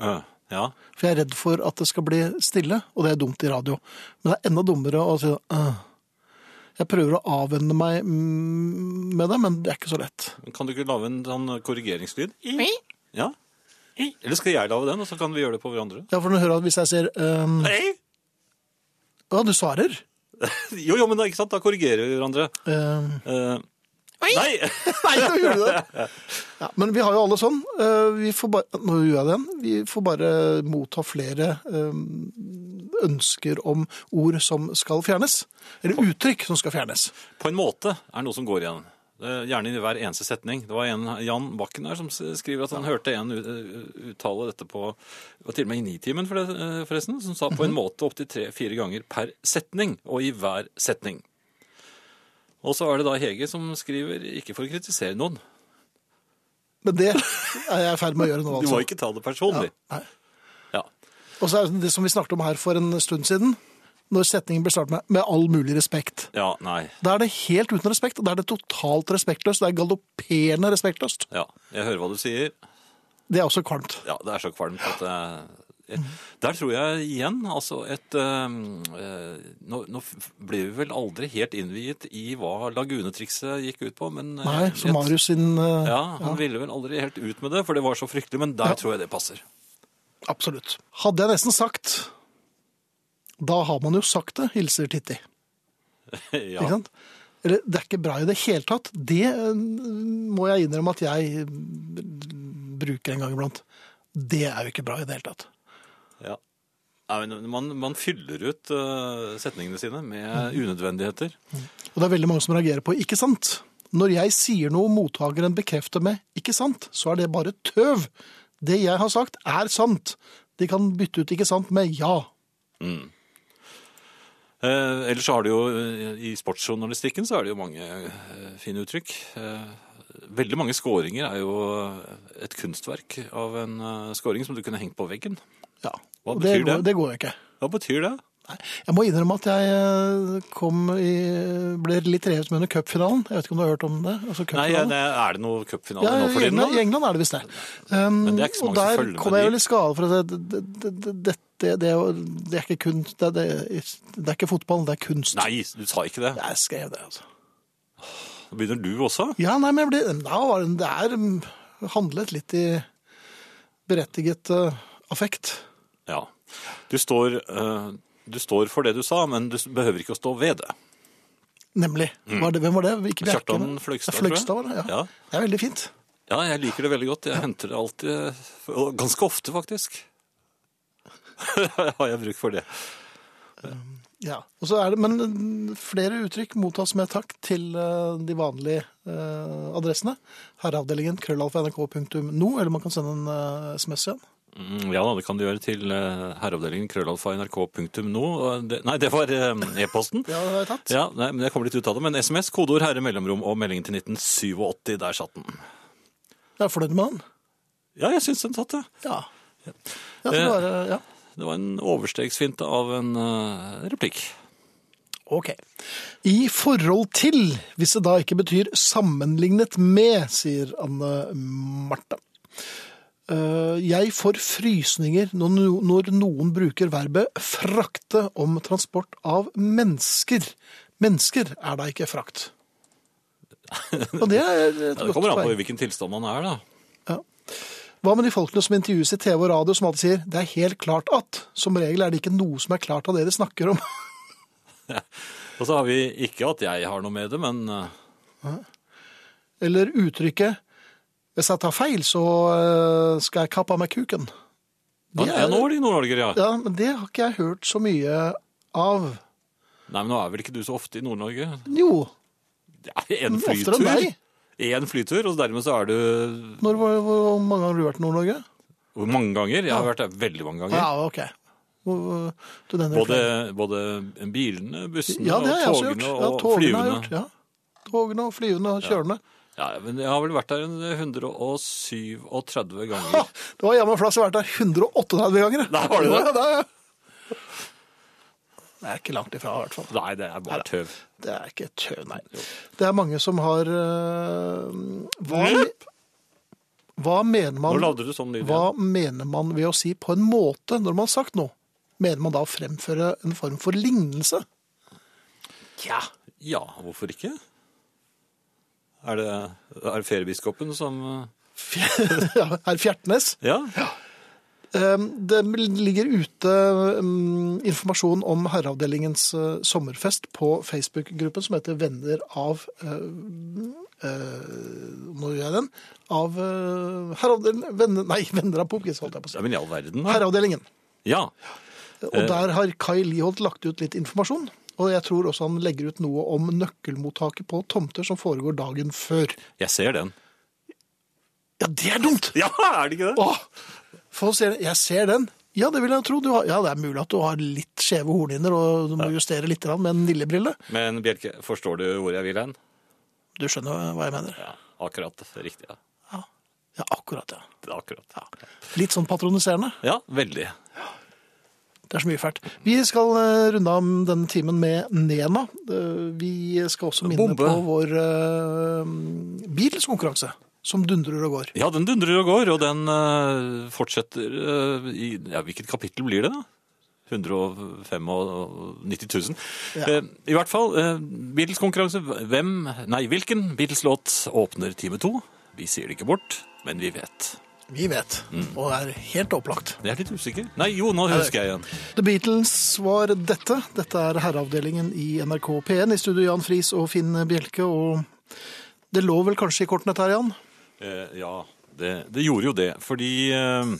Øh, ja.
For jeg er redd for at det skal bli stille, og det er dumt i radio. Men det er enda dummere å si øh. Jeg prøver å avvenne meg mm, med det, men det er ikke så lett.
Men Kan du ikke lage en sånn korrigeringslyd? Ja. Eller skal jeg lage den, og så kan vi gjøre det på hverandre?
Ja, for når du hører at hvis jeg sier øh, Ja, du svarer.
Jo, jo, men da, ikke sant? da korrigerer vi hverandre.
Øh,
Eh, nei!
nei, nå gjorde du det! Ja, men vi har jo alle sånn. Øh, vi får bare, nå gjør jeg den. Vi får bare motta flere øh, ønsker om ord som skal fjernes. Eller uttrykk som skal fjernes.
På en måte er det noe som går igjen. Eh, Gjerne i hver eneste setning. Det var en Jan Bakken her som s- skriver at han hørte en ut- eh, uttale dette på det var til og med i Nitimen, for det, eh, forresten, som sa på
Mhm.
en måte opptil tre-fire ganger per setning, og i hver setning. Og så er det da Hege som skriver, ikke for å kritisere noen,
Men det er jeg i ferd med å gjøre nå,
du
altså.
må ikke ta det personlig.
Nei.
Ja.
Og så er det det som vi snakket om her for en stund siden, når setningen blir startet med 'med all mulig respekt'.
Ja, nei.
Da er det helt uten respekt, og da er det totalt respektløst. Det er galopperende respektløst.
Ja, jeg hører hva du sier.
Det er også kvalmt.
Ja, det er så kvalmt at eh, jeg, Der tror jeg igjen, altså et øhm, øh, nå, nå f- ble vi vel aldri helt innviet i hva lagunetrikset gikk ut på, men
Nei,
jeg-
som Marius sin eh,
Ja, han ville vel aldri helt ut med det, for det var så fryktelig, men der tror jeg det passer.
Absolutt. Hadde jeg nesten sagt Da har man jo sagt det, hilser Titti.
ja.
Ikke sant? Eller, det er ikke bra i det hele tatt. Det eh, må jeg innrømme at jeg eh, bruker en gang iblant. Det er jo ikke bra i det hele tatt.
Ja. Nei, men man, man fyller ut øh, setningene sine med unødvendigheter.
Og det er veldig mange som reagerer på 'ikke sant'. Når jeg sier noe mottakeren bekrefter med 'ikke sant', så er det bare tøv. Det jeg har sagt, er sant. De kan bytte ut 'ikke sant' med 'ja'.
Mm. Eh, ellers så har det jo eh, i sportsjournalistikken så er det jo mange eh, fine uttrykk. Eh, veldig mange skåringer er jo et kunstverk av en eh, skåring som du kunne hengt på veggen.
ja.
Hva
Og det?
betyr det?
Går, det går jo ikke.
Hva betyr det?
Nei, Jeg må innrømme at jeg eh, kom i, ble litt revet med under cupfinalen. Jeg vet ikke om du har hørt om det? Altså,
Nei,
cupfinalen.
det, er det noe cupfinale
Ja,
nå for
i
tiden? da?
England, I England er det visst det. Um,
Men det er ikke så
og
mange som
der
følger med
kom jeg
dit.
vel i skade for at det, det, det, det, det, det, er jo- det er ikke kunst, det, det, det er ikke fotball, det er kunst.
Nei, du sa ikke det.
Jeg skrev det, altså.
Nå begynner du også.
Ja, nei, men jeg ble, da var det, det er um, handlet litt i berettiget uh, affekt.
Ja. Du står, eh, du står for det du sa, men du s- behøver ikke å stå ved det.
Nemlig. Var det, hvem var det? Ikke Bjerke,
Mm. Kjartan
men-
Fløgstad,
Ja,
tror jeg.
Fløgstad var det, ja.
Ja.
Det er veldig fint.
Ja, jeg liker det veldig godt. Jeg henter det alltid, og ganske ofte faktisk. Har jeg bruk for det.
Ja, og så er det, Men mm, flere uttrykk mottas med takk til eh, de vanlige eh, adressene. Herreavdelingen krøllalfa.nrk.no, eller man kan sende en eh, SMS igjen.
Mm, Ja, da, det kan du gjøre til eh, herreavdelingen krøllalfa.nrk.no. Og det- Nei, det var eh, e-posten.
Ja, det har jeg tatt.
Ja, nei, men Jeg kommer litt ut av det, men SMS, kodeord herre mellomrom og meldingen til 1987. Der satt den.
Jeg er fornøyd med den.
Ja, jeg syns den satt, det.
Ja. Jeg tror det var, eh, ja.
Det var en overstegsfinte av en eh, replikk.
Ok. I forhold til, hvis det da ikke betyr sammenlignet med, sier Anne Marte. Eh, Jeg får frysninger når no- når noen bruker verbet frakte om transport av mennesker. Mennesker er da ikke frakt. Og det er et
Ja, det
godt
kommer an på
poeng.
i hvilken tilstand man er, da.
Hva med de folkene som intervjues i TV og radio som alltid sier 'det er helt klart at'? Som regel er det ikke noe som er klart av det de snakker om.
Og så har vi ikke at jeg har noe med det, men eh,
Eller uttrykket 'hvis jeg tar feil, så eh, skal jeg kappe av meg kuken'.
ja, ja, nå var de nordnorger, ja.
ja, men det har ikke jeg hørt så mye av.
Nei, men nå er vel ikke du så ofte i Nord-Norge?
Jo,
Det er en
oftere
flytur.
enn deg.
En flytur, og dermed så er du
Når, var- hvor mange ganger har du vært i Nord-Norge?
Hvor mange ganger? Jeg har vært der veldig mange ganger.
Ja, ok. Hvor- Du, den
Både, både bilene, bussene
ja, det har jeg
og
også gjort.
togene
Ja,
og
togene har
flyvende.
jeg gjort. Ja. Togene og flyvende og kjørende.
Ja, men jeg har vel vært der en 137
Ha,
ganger.
det var jammen flass jeg har vært der 138 ganger. jeg.
Der var du det.
Ja, der. Det er ikke langt ifra, i hvert fall.
Nei, det er bare tøv.
Det er ikke tøv, nei. Det er mange som har øh, hva, hva mener man
Nå lagde du sånn lyd
Hva
igjen.
mener man ved å si 'på en måte' når man har sagt noe? Mener man da å fremføre en form for lignelse? Tja.
Ja, hvorfor ikke? Er det, er det feriebiskopen som
ja, Herr Fjertnes.
Ja?
Ehm, Det ligger ute mm, informasjon om herreavdelingens eh, sommerfest på Facebook-gruppen som heter 'Venner av eh, eh, Nå gjør jeg den. Av eh, herreavdelingen venner, Nei, venner av Popkis, holdt jeg på å si.
ja men i all verden, da.
Herreavdelingen.
Ja.
Og der har Kai Liholt lagt ut litt informasjon. Og jeg tror også han legger ut noe om nøkkelmottaket på tomter som foregår dagen før.
Jeg ser den.
Ja, det er dumt!
Ja, er det ikke det?
Åh! Folk sier jeg ser den. Ja, det vil jeg tro. Du har, ja, det er mulig at du har litt skjeve hornhinner og du må justere litt grann med en lillebrille.
Men Bjelke, forstår du hvor jeg vil hen?
Du skjønner hva jeg mener?
Ja, akkurat. Riktig. Ja,
Ja, ja akkurat, ja.
Det er akkurat.
Litt sånn patroniserende.
Ja, veldig.
Det er så mye fælt. Vi skal eh, runde av denne timen med Nena. Eh, Vi skal også minne
Bombe.
på vår eh, bilskonkurranse, som dundrer og går.
Ja, den dundrer og går, og den eh, fortsetter eh, i ja, Hvilket kapittel blir det, da? 195 000.
Ja.
Eh, I hvert fall, uh, Beatles-konkurranse. Hvem Nei, hvilken Beatles-låt åpner time to? Vi sier det ikke bort, men vi vet.
Vi vet, og er helt opplagt.
Jeg er litt usikker. Nei, jo, nå husker jeg igjen.
The Beatles var dette. Dette er herreavdelingen i NRK P1 i studio Jan Friis og Finn Bjelke. Og det lå vel kanskje i kortene dette her, Jan?
Eh, ja, det, det gjorde jo det. Fordi eh,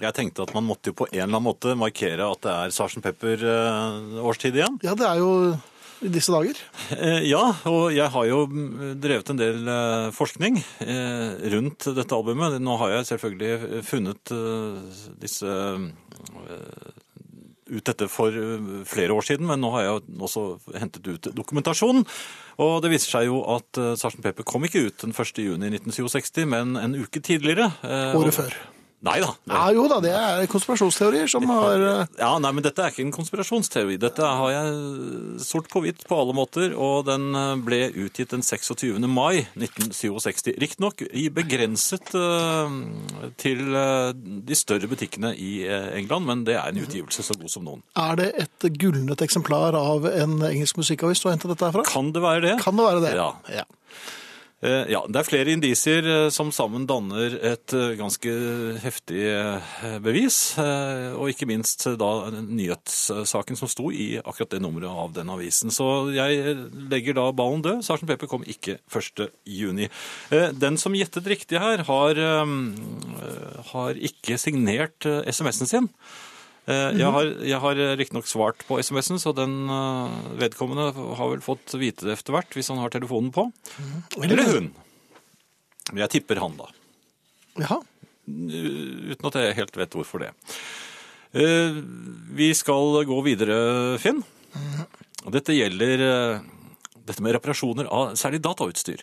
jeg tenkte at man måtte jo på en eller annen måte markere at det er Sarsen Pepper-årstid igjen.
Ja, det er jo i disse dager.
Eh, Ja, og jeg har jo mm, drevet en del eh, forskning eh, rundt dette albumet. Nå har jeg selvfølgelig funnet eh, disse eh, ut dette for eh, flere år siden, men nå har jeg jo også hentet ut dokumentasjon. Og det viser seg jo at eh, Sarsen Pepper kom ikke ut den 1. juni 1967, men en uke tidligere. eh,
Året
og-
før.
Nei da.
Ja, jo da, det er konspirasjonsteorier som har eh,
Ja, nei, men dette er ikke en konspirasjonsteori. Dette har jeg eh, sort på hvitt på alle måter, og den eh, ble utgitt den 26. mai 1967. Riktignok i begrenset eh, til eh, de større butikkene i eh, England, men det er
Mhm.
en utgivelse så god som noen.
Er det et gulnet eksemplar av en engelsk musikkavis du har hentet dette her fra?
Kan det være det?
Kan det være det?
Ja. Eh, Ja, Det er flere indisier eh, som sammen danner et eh, ganske heftig eh, bevis. eh, Og ikke minst eh, da nyhetssaken som sto i akkurat det nummeret av den avisen. Så jeg eh, legger da ballen død. Sergeant Pepper kom ikke 1. juni. Eh, Den som gjettet riktig her, har, eh, har ikke signert eh, SMS-en sin. Eh, Jeg har, jeg har eh, riktignok svart på SMS-en, så den eh, vedkommende har vel fått vite det etter hvert, hvis han har telefonen på. Eller hun. Men jeg tipper han, da.
Jaha.
Uten at jeg helt vet hvorfor det. Eh, Vi skal gå videre, Finn. Og dette gjelder eh, dette med reparasjoner av særlig datautstyr.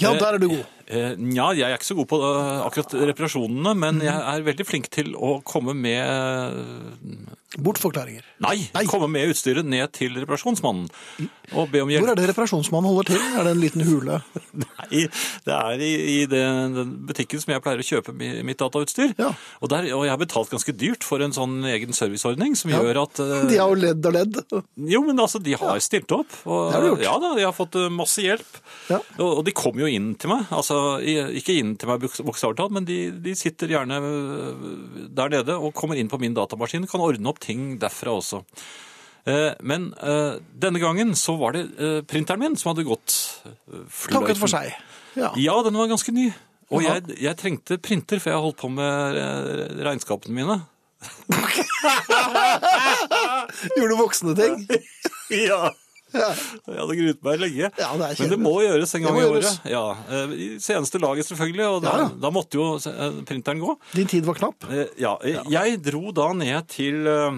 Ja,
Eh,
der er du god.
Eh, Nja, jeg er ikke så god på eh, akkurat reparasjonene, men jeg er veldig flink til å komme med eh,
Bortforklaringer.
Nei,
Nei.
komme med utstyret ned til reparasjonsmannen og be om hjelp.
Hvor er det reparasjonsmannen holder til? Er det en liten hule?
Eh. Nei, det er i, i den, den butikken som jeg pleier å kjøpe mi, mitt datautstyr.
Ja.
Og, der, og jeg har betalt ganske dyrt for en sånn egen serviceordning som gjør at eh,
De har jo ledd og ledd.
Jo, men altså, de har stilt opp. Og,
Det har de gjort.
Ja da, de har fått eh, masse hjelp.
Ja.
Og, og de kommer jo inn til meg. Altså, i- ikke inn til meg boks- bokstavelig talt, men de, de sitter gjerne eh, der nede og kommer inn på min datamaskin og kan ordne opp ting derfra også. Eh, Men eh, denne gangen så var det eh, printeren min som hadde gått eh,
Takket for
fløyten.
seg. Ja.
Ja, den var ganske ny. Og
Jaha.
jeg, jeg trengte printer, for jeg holdt på med eh, regnskapene mine.
Gjorde voksne ting.
Ja. Jeg hadde gruet meg
Ja,
lenge.
det er
Men det
kjedelig.
må gjøres en gang
Det
i
må
året.
gjøres.
Ja, eh, I seneste laget, selvfølgelig. Og da,
Ja, ja.
da måtte jo eh, printeren gå.
Din tid var knapp.
Eh, Ja, eh, jeg dro da ned til eh,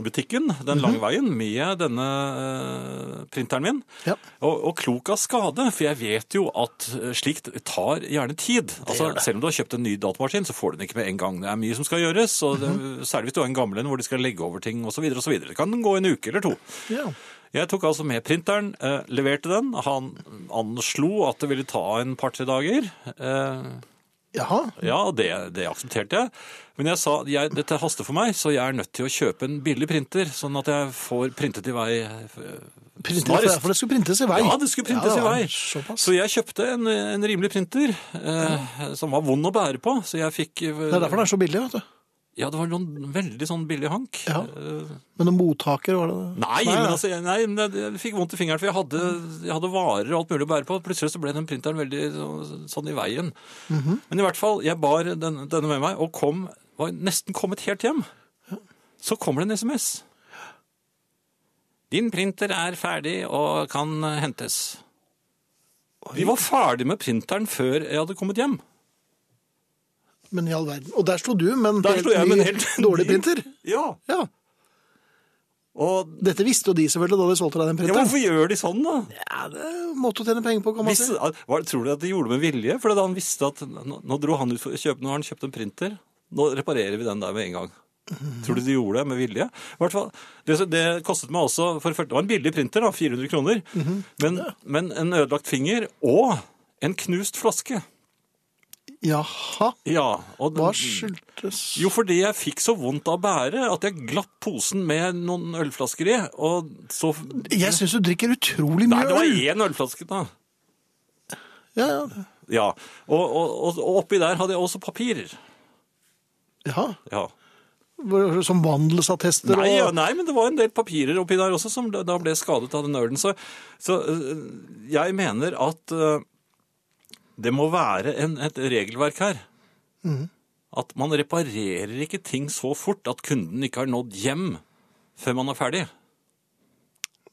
butikken den lange veien med denne eh, printeren min.
Ja.
Og, og klok av skade, for jeg vet jo at eh, slikt tar gjerne tid. Altså, selv om du har kjøpt en ny datamaskin, så får du den ikke med en gang. Det er mye som skal gjøres, og det, særlig hvis du har en gammel en hvor de skal legge over ting osv. Det kan gå en uke eller to.
Ja.
Jeg tok altså med printeren, eh, leverte den. Han anslo at det ville ta en par-tre dager. Eh,
Jaha.
ja, og det, det aksepterte jeg. Men jeg sa jeg, dette haster for meg, så jeg er nødt til å kjøpe en billig printer, sånn at jeg får printet i vei eh,
Printet, for,
snarest.
for det skulle printes i vei.
Ja, det skulle
Ja,
printes i vei.
Såpass.
Så jeg kjøpte en, en rimelig printer, eh, som var vond å bære på. Så jeg fikk eh,
Det er derfor den er så billig, vet du.
Ja, det var noen veldig sånn billig hank.
Ja.
Eh,
Men noen mottaker var det
Nei, men altså, jeg- nei, men jeg, jeg fikk vondt i fingeren, for jeg hadde, jeg hadde varer og alt mulig å bære på. Plutselig så ble den printeren veldig så- sånn i veien. Men i hvert fall, jeg bar den, denne med meg, og kom, var nesten kommet helt hjem. Så kommer det en sms. Din printer er ferdig og kan hentes. Vi var ferdig med printeren før jeg hadde kommet hjem.
Men i all verden. Og der slo du, men
Der slo jeg med en
ny,
helt
dårlig printer.
Ja,
Ja.
og
Dette visste jo de selvfølgelig da de solgte deg den
ja,
printeren.
hvorfor gjør de sånn da?
Ja, det er en måte å tjene penger på, kan man si.
Visste, hva, tror du at de gjorde det med vilje? For da han visste at nå, nå dro han ut for å kjøpe, nå har han kjøpt en printer. Nå reparerer vi den der med en gang. Tror du de gjorde det med vilje? I hvert fall, det, det kostet meg også, for det første- det var en billig printer da, 400 kroner, men, men en ødelagt finger og en knust flaske.
Jaha.
Ja, og den-
Hva skyldtes
Mm. jo, fordi jeg fikk så vondt av å bære at jeg glapp posen med noen ølflasker i, og så...
Jeg syns du drikker utrolig
Nei,
mye
det var
øl.
én ølflaske da.
Ja, ja.
Ja, og, og, og- og oppi der hadde jeg også papirer.
ja.
Ja.
Hvor- Som sånn vandelsattester
Nei,
og
ja, nei, men det var en del papirer oppi der også som da da ble skadet av den ølen. Så, så øh, jeg mener at øh, det må være en, et regelverk her.
Mhm.
At man reparerer ikke ting så fort at kunden ikke har nådd hjem før man er ferdig.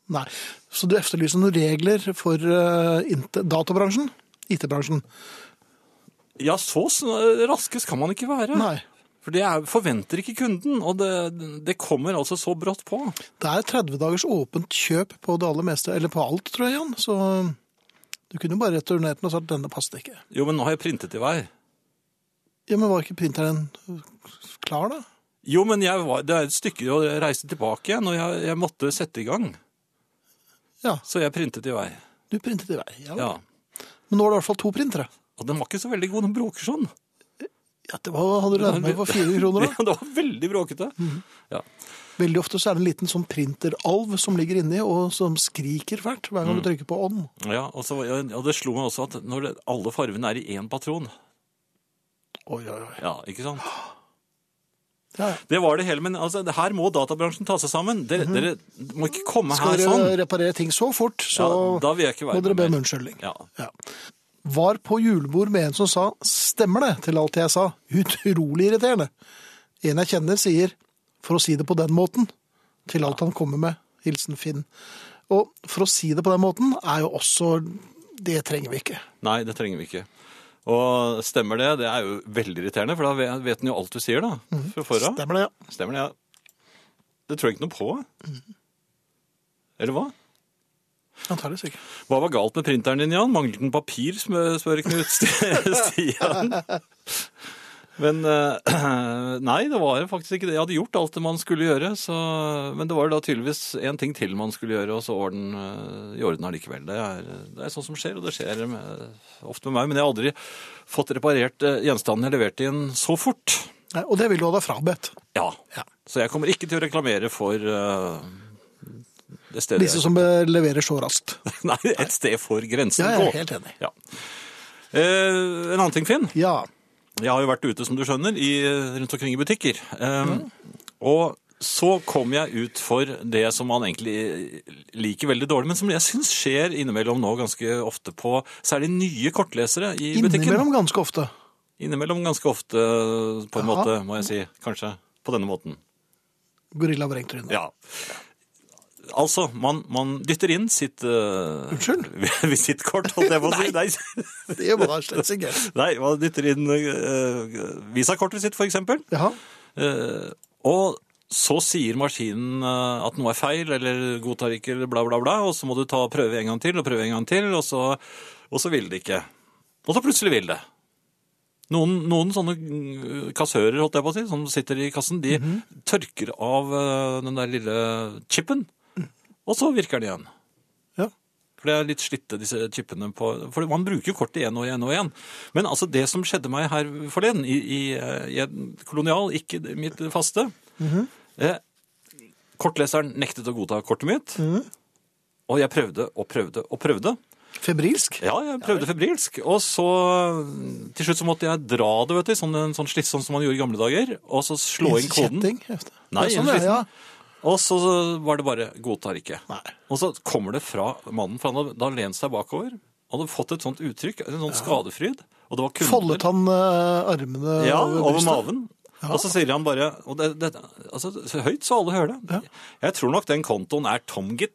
Nei. Så du efterlyser noen regler for eh, inte- databransjen? IT-bransjen?
Ja, så sn- raske skal man ikke være.
Nei.
For det er, forventer ikke kunden, og det, det kommer altså så brått på.
Det er 30 dagers åpent kjøp på det aller meste, eller på alt, tror jeg, Jan. Så du kunne jo bare returnert den og sagt denne passet ikke.
Jo, men nå har jeg printet i vei.
Ja, men var ikke printeren klar, da?
Jo, men jeg var, det er et stykke å reise tilbake igjen, og jeg, jeg måtte sette i gang.
Ja.
Så jeg printet i vei.
Du printet i vei. Ja.
Ja.
Men nå er det i hvert fall to printere.
Og den var ikke så veldig god, den bråker sånn.
Ja, det var, Hadde du lært meg for fire kroner, da?
Det var veldig bråkete.
Mhm.
Ja.
Veldig ofte så er det en liten sånn printeralv som ligger inni, og som skriker fælt hver gang du trykker på on.
Ja, og, så, og det slo meg også at når det, alle fargene er i én patron
Oi, oi, oi.
Ja, ikke sant?
Ja, ja.
Det var det hele, men altså, det her må databransjen ta seg sammen. Dere, dere må ikke komme
Mhm. Skal
her
dere
sånn.
reparere ting så fort, så
Ja, da vil jeg ikke være
må dere be
med
om
mer.
unnskyldning.
Ja.
Ja. Var på julebord med en som sa 'stemmer det' til alt jeg sa. Utrolig irriterende. En jeg kjenner sier 'for å si det på den måten' til alt han kommer med. Hilsen Finn. Og 'for å si det på den måten' er jo også Det trenger vi ikke.
Nei, det trenger vi ikke. Og stemmer det, det er jo veldig irriterende, for da ve- vet den jo alt du sier, da. Fra forra.
Mhm. Stemmer det, ja.
Stemmer det, ja. Det tror jeg ikke noe på.
Mhm.
Eller hva?
Antakeligvis ikke.
Hva var galt med printeren din, Jan? Manglet den papir, spør spør Knut Sti- Stian. Men eh, nei, det var faktisk ikke det. Jeg hadde gjort alt det man skulle gjøre. Så, men det var da tydeligvis en ting til man skulle gjøre, og så var den eh, i orden allikevel. Det er, det er sånt som skjer, og det skjer med, ofte med meg. Men jeg har aldri fått reparert eh, gjenstanden jeg leverte inn så fort.
Nei, og det vil du ha deg frabedt.
Ja.
Ja.
Så jeg kommer ikke til å reklamere for eh, det stedet.
Disse som eh, leverer så raskt.
Nei, et sted for grensen
Ja, jeg er
gå.
helt enig.
Ja. Eh, en annen ting, Finn.
Ja.
Jeg har jo vært ute, som du skjønner, i, rundt omkring i butikker. Eh, Og så kom jeg ut for det som man egentlig liker veldig dårlig, men som jeg syns skjer innimellom nå ganske ofte på særlig nye kortlesere i butikken.
Innimellom ganske ofte.
Innimellom ganske ofte, på
Ja.
en måte, må jeg si. Kanskje på denne måten.
Gorilla vrengtryne.
Ja. Altså, man, man dytter inn sitt eh,
Unnskyld?
Visittkort, holdt jeg på å si. Nei.
Det var da slett ikke.
Nei, man dytter inn eh, visakortet sitt, for eksempel.
Jaha.
Eh, og så sier maskinen eh, at noe er feil, eller godtar ikke, eller bla, bla, bla. Og så må du ta prøve en gang til, og prøve en gang til, og så, og så vil det ikke. Og så plutselig vil det. Noen, noen sånne mm, kassører, holdt jeg på å si, som sitter i kassen, de tørker av eh, den der lille chipen, og så virker den igjen.
Ja.
For det er litt slitte, disse chipene på For man bruker kortet igjen og igjen og igjen. Men altså, det som skjedde meg her forleden, i, i, eh, i en kolonial, ikke mitt faste eh, Kortleseren nektet å godta kortet mitt. Og jeg prøvde og prøvde og prøvde.
Febrilsk.
Ja, jeg prøvde febrilsk. Og så til slutt så måtte jeg dra det, vet du. i Sånn, en sånn slitt sånn som man gjorde i gamle dager. Og så slå inn koden.
Kjetting.
Nei,
ja, sånn, er det, ja.
Og så var det bare 'godtar ikke'.
Nei.
Og så kommer det fra mannen, for han hadde da lent seg bakover. Han hadde fått et sånt uttrykk, en sånn skadefryd. Og det var kunder.
Foldet han eh, armene
Ja, over
brystet?
maven. Og så sier han bare og det, det, altså, så Høyt, så alle hører det. Jeg tror nok den kontoen er tom, gitt.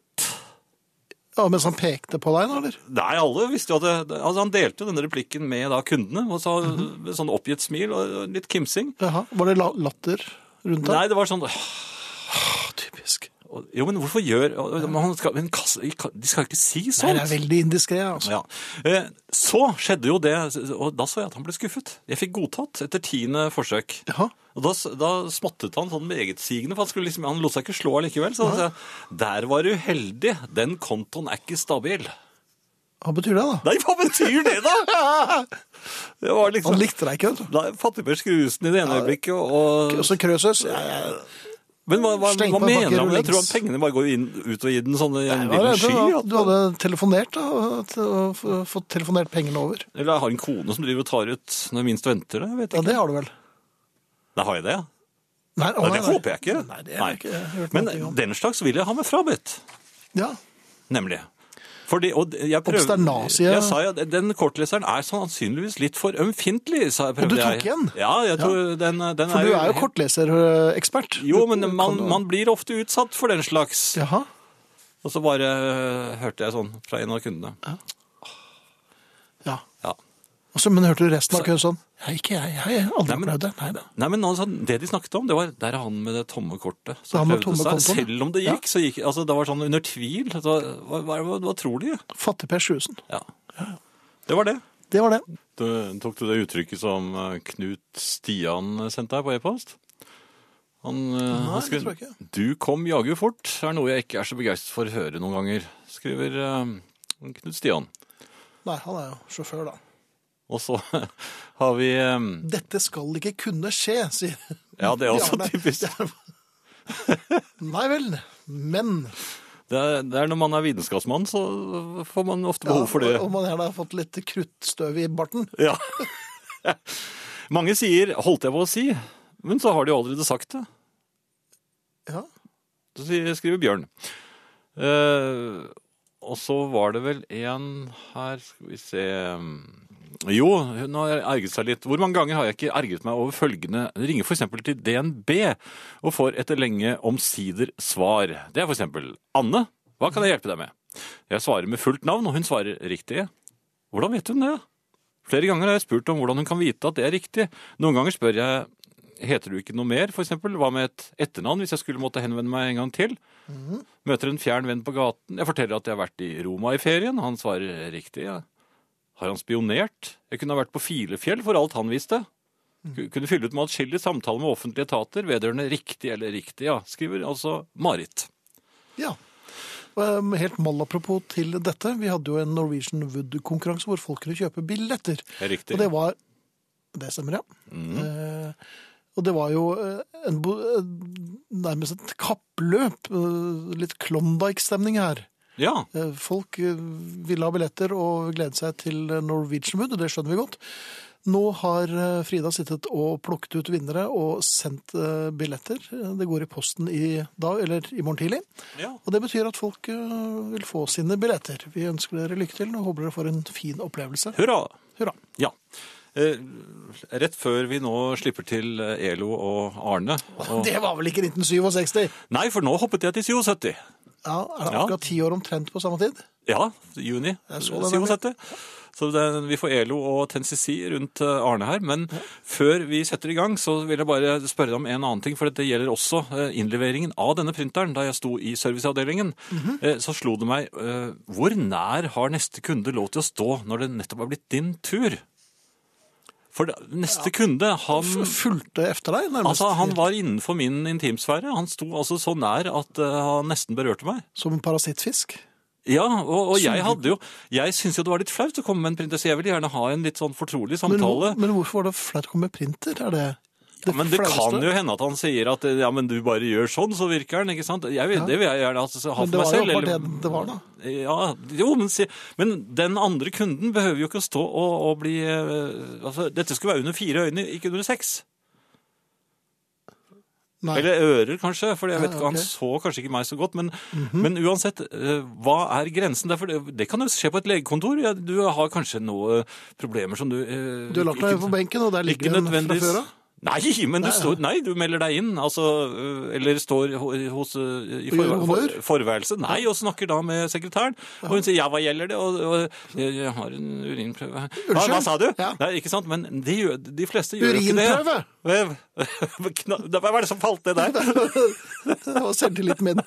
Ja, Mens han pekte på deg, nå, eller?
Nei, alle visste jo at det, det- altså, Han delte jo denne replikken med da kundene. Og så
Mhm.
med sånn oppgitt smil og og litt kimsing.
Jaha. Var det la latter rundt deg? Ah,
Nei, det var sånn «Åh,
typisk.
og- Jo, men hvorfor gjør og- man skal, men, kass- De skal ikke si
Nei,
sånt.
det er veldig indiskré, altså.
Ja. Eh, Så skjedde jo det, og da så jeg at han ble skuffet. Jeg fikk godtatt etter tiende forsøk.
Jaha.
Og da, da smattet han sånn megetsigende, for han, skulle liksom, han lot seg ikke slå allikevel. Så han sa der var du heldig, den kontoen er ikke stabil.
Hva betyr det, da?
Nei, hva betyr det, da?! Det var
Han
liksom
likte deg ikke, vet du.
da fattig med skrusen i det ene øyeblikket, og,
Og
og
så Krøsøs. Ja, ja.
Men hva, hva,
Sleng
hva
på en pakke
mener han? Jeg
rullings.
tror han pengene bare går inn, ut og i den sånne
Jeg var
lille
redd
sky. altså.
for
at-
at Du hadde telefonert da, og t- og f- fått telefonert pengene over.
Eller har en kone som driver og tar ut når minst venter det? Jeg vet
Ja,
ikke.
det har du vel?
Da har jeg det, ja.
Nei, å,
Nei,
nei,
det
nei.
håper jeg ikke.
Nei, det har jeg ikke hørt
Men
noe om.
den slags vil jeg ha med frabedt,
Ja.
nemlig. Fordi, og jeg prøvde,
Obsternasie.
Jeg sa jo, at den kortleseren er sannsynligvis litt for ømfintlig, sa jeg. prøvde
du tok
jeg.
igjen?
Ja, jeg tror den, den
For du er jo kortleserekspert.
Jo, men
Kan
man,
du-
man blir ofte utsatt for den slags.
Jaha.
Og så bare øh, hørte jeg sånn fra en av kundene.
Ja.
Ja.
Og så- men hørte du resten av køen sånn? Nei, ikke jeg. Jeg har aldri
Nei, men-
prøvd det. Nei da.
Nei, men altså, Det de snakket om, det var der er han med det tomme kortet.
Det er han
som
med
prøvde
tomme
seg.
kontoen.
Selv om det gikk, så gikk altså, det var sånn under tvil. Så, hva, hva, hva tror de?
Fattig Per Sjusen.
Ja. Det var det.
Det var det.
Du, tok du det uttrykket som eh, Knut Stian sendte deg på e-post? Han, eh, han
det tror jeg ikke.
Du kom jaggu fort, er noe jeg ikke er så begeistret for å høre noen ganger, skriver eh, Knut Stian.
Nei, han er jo sjåfør, da.
Og så har vi eh,
Dette skal ikke kunne skje, sier
Ja, det er også
Bjarne.
typisk.
Nei vel, men
Det er, det er når man er vitenskapsmann, så får man ofte behov for det.
Om man gjerne har fått litt kruttstøv i barten.
Ja. Mange sier 'holdt jeg på å si', men så har de jo allerede sagt det.
Ja.
Så sier- skriver Bjørn. Eh, og så var det vel en her Skal vi se mm, Jo, hun har erget seg litt. Hvor mange ganger har jeg ikke erget meg over følgende? Jeg Ringer f.eks. til DNB og får etter lenge omsider svar. Det er f.eks.: Anne, hva kan jeg hjelpe deg med? Jeg svarer med fullt navn, og hun svarer riktig. Hvordan vet hun det? Flere ganger har jeg spurt om hvordan hun kan vite at det er riktig. Noen ganger spør jeg Heter du ikke noe mer, for eksempel? Hva med et etternavn, hvis jeg skulle måtte henvende meg en gang til?
Mhm.
Møter en fjern venn på gaten. Jeg forteller at jeg har vært i Roma i ferien. Han svarer riktig. Ja. Har han spionert? Jeg kunne ha vært på Filefjell for alt han visste.
Mhm.
Ku- Kunne fylle ut med atskillig samtale med offentlige etater vedrørende riktig eller riktig, ja, skriver altså Marit.
ja. Og, eh, Helt malapropos til dette. Vi hadde jo en Norwegian Wood-konkurranse hvor folk kunne kjøpe billetter.
Riktig.
Og det var Det stemmer, ja. Eh, og det var jo eh, en, bo- eh, nærmest et kappløp. eh, litt Klondyke-stemning her.
Ja,
Eh, Folk eh, ville ha billetter og glede seg til Norwegian Wood, og det skjønner vi godt. Nå har eh, Frida sittet og plukket ut vinnere og sendt eh, billetter. Eh, Det går i posten i dag, eller i morgen tidlig.
ja.
Og det betyr at folk eh, vil få sine billetter. Vi ønsker dere lykke til og håper dere får en fin opplevelse.
Hurra!
Hurra.
Ja. Eh, rett før vi nå slipper til eh, Elo og Arne og...
Det var vel ikke 1967?
Nei, for nå hoppet jeg til 77.
Ja, Er det
Ja.
akkurat ti år omtrent på samme tid?
Ja, juni
Jeg så det,
77. Så det, vi får Elo og Tensisi rundt eh, Arne her. Men før vi setter i gang, så vil jeg bare spørre deg om en annen ting. For det gjelder også eh, innleveringen av denne printeren. Da jeg sto i serviceavdelingen,
Mhm.
eh, så slo det meg eh, hvor nær har neste kunde lov til å stå når det nettopp har blitt din tur? For det- neste kunde, han
Fulgte efter deg, nærmest.
Altså, Han var innenfor min intimsfære. Han sto altså så nær at eh, han nesten berørte meg.
Som en parasittfisk.
Ja, og, og jeg hadde jo Jeg syntes jo det var litt flaut å komme med en printesse. Jeg ville gjerne ha en litt sånn fortrolig
Men,
samtale.
men hvorfor var det flaut å komme med printer? Er det
Ja, men det kan
flaueste?
jo hende at han sier at eh, ja, men du bare gjør sånn, så virker den. ikke sant? Jeg, vil- Det vil jeg gjerne at- ha
Men
for
det
meg
var jo
selv.
bare det det var, da.
Ja, jo, men, si, men den andre kunden behøver jo ikke å stå og, og bli eh, altså, Dette skulle være under fire øyne, ikke under seks.
Nei.
Eller ører, kanskje. For jeg
Ja,
vet ikke, han
ok. Mhm.
så kanskje ikke meg så godt. Men, men uansett, eh, hva er grensen? Derfor, det, det kan jo skje på et legekontor. Ja, du har kanskje noen problemer som du eh,
Du har lagt deg på benken, og der
ikke
ligger den fra
nødvendigvis-
før av.
Nei, men du, står, nei, du melder deg inn, altså, eh, eller står ho- hos, eh, i
Og gjør
forvær-
honnør?
for, forværelset. Nei, og snakker da med sekretæren. Og hun sier 'ja, hva gjelder det?' Og, og jeg, 'jeg har en urinprøve'. her.» Hva, hva
Unnskyld?
sa du?
Ja.
Nei, ikke sant? Men de, gjør- de fleste gjør jo ikke det.
Urinprøve?
Hva- Hva var det som falt ned der?
Det var selvtilliten min.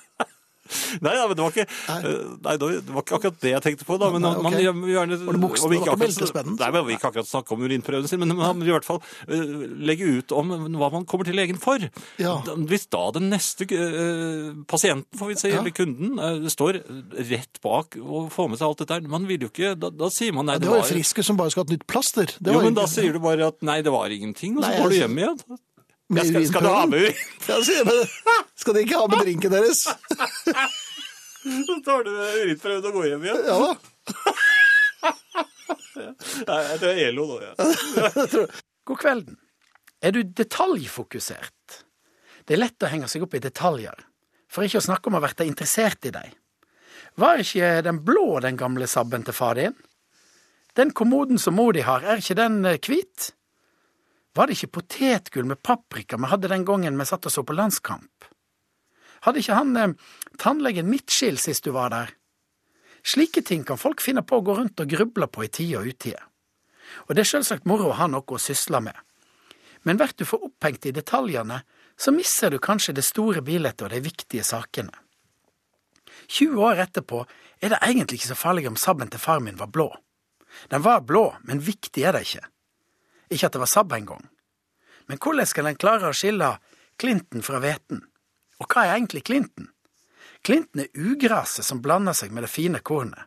Nei, ja, men det var ikke, eh, nei, det var ikke akkurat det jeg tenkte på. da, men
Nei, ok.
man, man, gjerne,
Var det buksene?
og vi
Det var
ikke
ikke
akkurat-
beltespennen?
Nei, men Vi kan ikke akkurat snakke om urinprøven sin, men man vil i hvert fall eh, legge ut om hva man kommer til legen for.
Ja.
Da- Hvis da den neste eh, pasienten får vi si,
Ja.
eller kunden eh, står rett bak og får med seg alt dette her, man vil jo ikke, da, da sier man nei,
Det var jo Friske som bare skulle hatt nytt plaster. Det
jo,
var
men da
ikke-
sier du bare at nei, det var ingenting, og så
Nei,
går du
jeg-
hjem igjen.
Med
Jeg skal, skal du ha
urinprøven?
med urin?
Ja, sier jeg, men Skal de ikke ha med drinken deres?
Så tar du urinprøven og går hjem igjen.
Ja da.
Nei, det er ELO nå, ja.
God kvelden. Er du detaljfokusert? Det er lett å henge seg opp i detaljer, for ikke å snakke om å være interessert i deg. Var ikke den blå den gamle sabben til far din? Den kommoden som mor di har, er ikke den eh, hvit? Var det ikke potetgull med paprika vi hadde den gangen vi satt og så på landskamp? Hadde ikke han eh, tannlegen midtskill sist du var der? Slike ting kan folk finne på å gå rundt og gruble på i tide og utide. Og det er selvsagt moro å ha noe å sysle med. Men blir du for opphengt i detaljene, så misser du kanskje det store bildet og de viktige sakene. 20 år etterpå er det egentlig ikke så farlig om sabben til far min var blå. Den var blå, men viktig er det ikke. Ikke at det var Saab engang. Men hvordan skal en klare å skille Clinton fra hveten? Og hva er egentlig Clinton? Clinton er ugraset som blander seg med det fine kornet.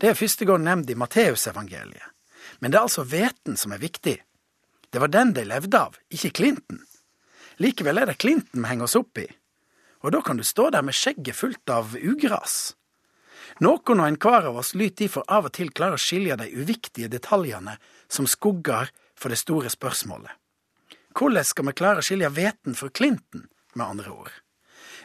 Det er første gang nevnt i Matteusevangeliet. Men det er altså hveten som er viktig. Det var den de levde av, ikke Clinton. Likevel er det Clinton vi henger oss opp i. Og da kan du stå der med skjegget fullt av ugras. Noen og enhver av oss lyt derfor av og til klare å skilje de uviktige detaljene som skugger for det store spørsmålet. Hvordan skal vi klare å skilje hveten fra Clinton, med andre ord?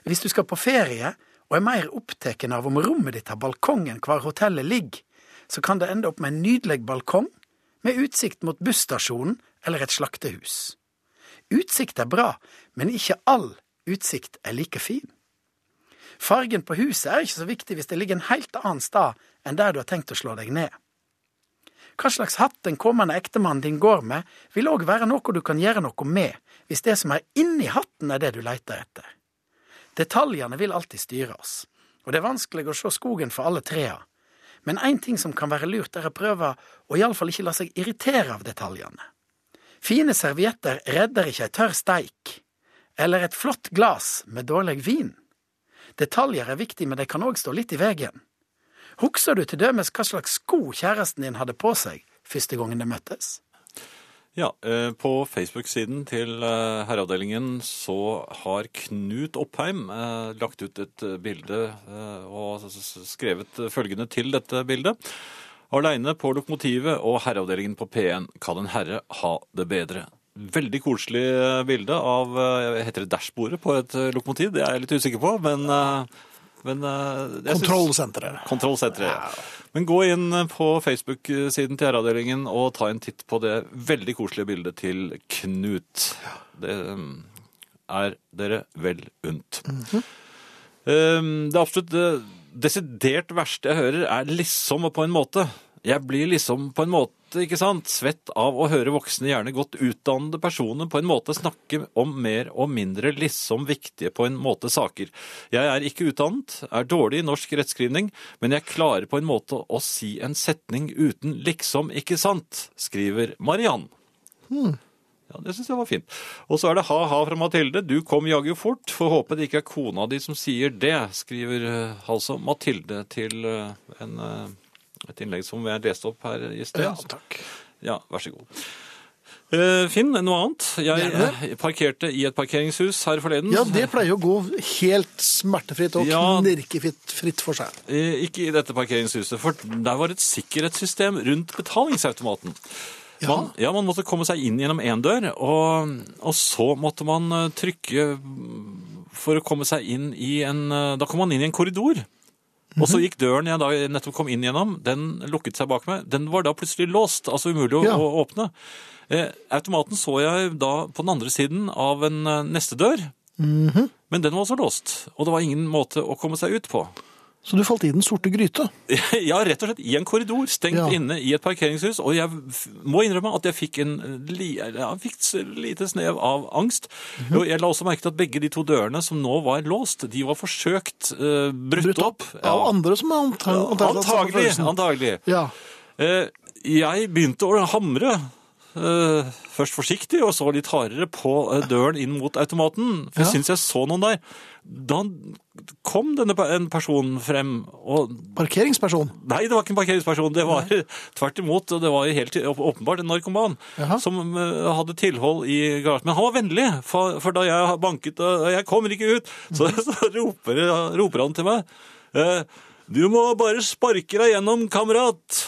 Hvis du skal på ferie og er mer opptatt av om rommet ditt har balkong enn hvor hotellet ligger, så kan det ende opp med en nydelig balkong med utsikt mot busstasjonen eller et slaktehus. Utsikt er bra, men ikke all utsikt er like fin. Fargen på huset er ikke så viktig hvis det ligger en helt annen sted enn der du har tenkt å slå deg ned. Hva slags hatt den kommende ektemannen din går med, vil òg være noe du kan gjøre noe med, hvis det som er inni hatten er det du leter etter. Detaljene vil alltid styre oss, og det er vanskelig å se skogen for alle trærne. Men én ting som kan være lurt, er å prøve å iallfall ikke la seg irritere av detaljene. Fine servietter redder ikke ei tørr steik, eller et flott glass med dårlig vin. Detaljer er viktig, men de kan òg stå litt i veien. Husker du til dømes hva slags sko kjæresten din hadde på seg første gangen de møttes?
Ja, eh, På Facebook-siden til eh, Herreavdelingen så har Knut Oppheim eh, lagt ut et eh, bilde eh, og s- s- skrevet eh, følgende til dette bildet. Aleine på lokomotivet og Herreavdelingen på P1 kan en herre ha det bedre. Veldig koselig eh, bilde av eh, Heter det dashbordet på et eh, lokomotiv? Det er jeg litt usikker på, men, eh, men eh, jeg syns-
Kontrollsenteret.
Kontrollsenteret. ja. Men gå inn på Facebook-siden til Herreavdelingen og ta en titt på det veldig koselige bildet til Knut. Det um, er dere vel unt. Um, Det absolutt eh, desidert verste jeg hører, er liksom og på en måte. Jeg blir liksom på en måte, ikke sant, svett av å høre voksne, gjerne godt utdannede personer på en måte snakke om mer og mindre liksom viktige på en måte saker. Jeg er ikke utdannet, er dårlig i norsk rettskrivning, men jeg klarer på en måte å si en setning uten liksom ikke sant, skriver Mariann. Ja, Det syns jeg var fint. Og så er det ha-ha fra Mathilde. Du kom jaggu fort. Får håpe det ikke er kona di som sier det, skriver eh, altså Mathilde til eh, en, eh, et innlegg som jeg leste opp her i sted.
Ja, takk.
Ja, vær så god. Eh, Finn, noe annet? Jeg
Gjerne.
eh, parkerte i et parkeringshus her forleden.
Ja, det pleier å gå helt smertefritt og
Ja.
knirkefritt fritt for seg.
Eh, Ikke i dette parkeringshuset, for der var et sikkerhetssystem rundt betalingsautomaten.
Ja.
Man, ja, man måtte komme seg inn gjennom én dør, og, og så måtte man eh, trykke for å komme seg inn i en eh, Da kom man inn i en korridor. Og så gikk døren jeg da nettopp kom inn gjennom, den lukket seg bak meg. Den var da plutselig låst, altså umulig å,
Ja.
å åpne. Eh, automaten så jeg da på den andre siden av en eh, neste dør, men den var også låst. Og det var ingen måte å komme seg ut på.
Så du falt i den sorte gryte.
Ja, rett og slett i en korridor, stengt
Ja.
inne i et parkeringshus. Og jeg f- må innrømme at jeg fikk en li, ja, jeg fikk s- lite snev av angst.
Mhm.
Og jeg la også merke til at begge de to dørene som nå var låst, de var forsøkt eh, brutt,
Brutt opp
opp.
av
Ja.
andre som anta- antagelig hadde samme
Antagelig.
følelsen.
antagelig.
Ja.
Eh, jeg begynte å hamre. eh, først forsiktig, og så litt hardere på eh, døren inn mot automaten. For
Ja.
jeg syns jeg så noen der. Da kom denne pe- en person frem, og
Parkeringsperson.
Nei, det var ikke en parkeringsperson. Det var tvert imot. og Det var jo helt å- åpenbart en narkoman
Jaha.
som eh, hadde tilhold i garasjen. Men han var vennlig, for, for da jeg banket og jeg kommer ikke ut, så,
Mhm.
så roper, roper han til meg. eh, Du må bare sparke deg gjennom, kamerat.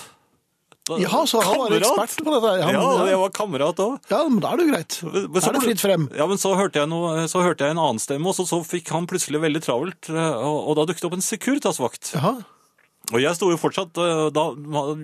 Da-
Jaha, så han var
Kamerat?
ekspert på dette. Ja,
Ja,
men,
og
ja.
jeg var kamerat òg.
ja, men da er det jo greit.
Men- men
Da
så
er det
plut-
fritt frem.
Ja, men så hørte jeg, noe, så hørte jeg en annen stemme, og så, så fikk han plutselig veldig travelt. eh, Og, og da dukket det opp en Securitas-vakt.
Jaha.
Og jeg sto jo fortsatt, eh, da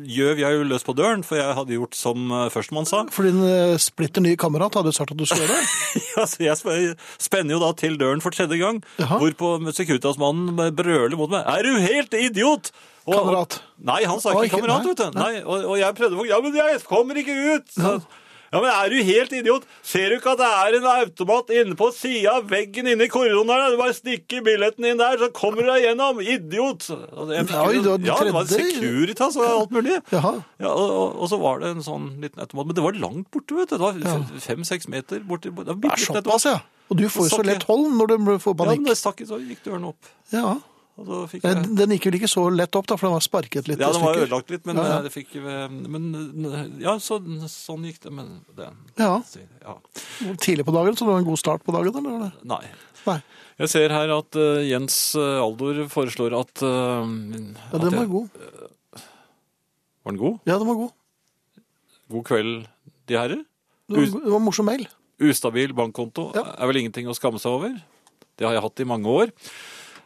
gjøv jeg jo løs på døren, for jeg hadde gjort som eh, førstemann sa.
For din eh, splitter nye kamerat hadde jo sagt at du skulle gjøre det.
Ja, så jeg sp- spenner jo da til døren for tredje gang,
Jaha.
hvorpå Securitas-mannen brøler mot meg. Er du helt idiot? Og-
Kamerat.
Nei, han sa
Å,
ikke
ikke-
kamerat,
nei,
vet du. Nei, og, og jeg prøvde å Ja, men jeg kommer ikke ut! Så, Ja, men er du helt idiot? Ser du ikke at det er en automat inne på sida av veggen inne i korridoren her? da? Du bare stikker billetten inn der, så kommer du deg gjennom! Idiot! Og jeg fikk
Oi,
jo-
det var den
ja, det var
tredje.
Securitas og alt mulig.
Jaha.
Ja, og, og, og så var det en sånn liten automat. Men det var langt borte, vet du. Det var fem-seks meter borti Det var
Det
bitte
er
liten
såpass,
automat.
altså, ja. Og du får jo så lett hold når du får
Ja, men
panikk.
det stakk, så gikk dørene opp.
Ja. Eh,
Og så fikk jeg...
Den gikk vel ikke så lett opp, da, for den var sparket litt
Ja,
i
den var
stykker.
ødelagt litt, men
Ja, ja.
eh, det fikk eh, Men eh, ja, så, sånn gikk det. Men det
Ja.
ja.
Tidlig på dagen, så det var en god start på dagen, eller? var det?
Nei.
Nei.
Jeg ser her at eh, Jens eh, Aldor foreslår at eh,
Ja,
at
den var
jeg-
god.
Var den god?
Ja, den var god.
God kveld, de herrer.
Det var,
Ut-
det var en morsom mail.
Ustabil bankkonto
Ja.
er vel ingenting å skamme seg over. Det har jeg hatt i mange år.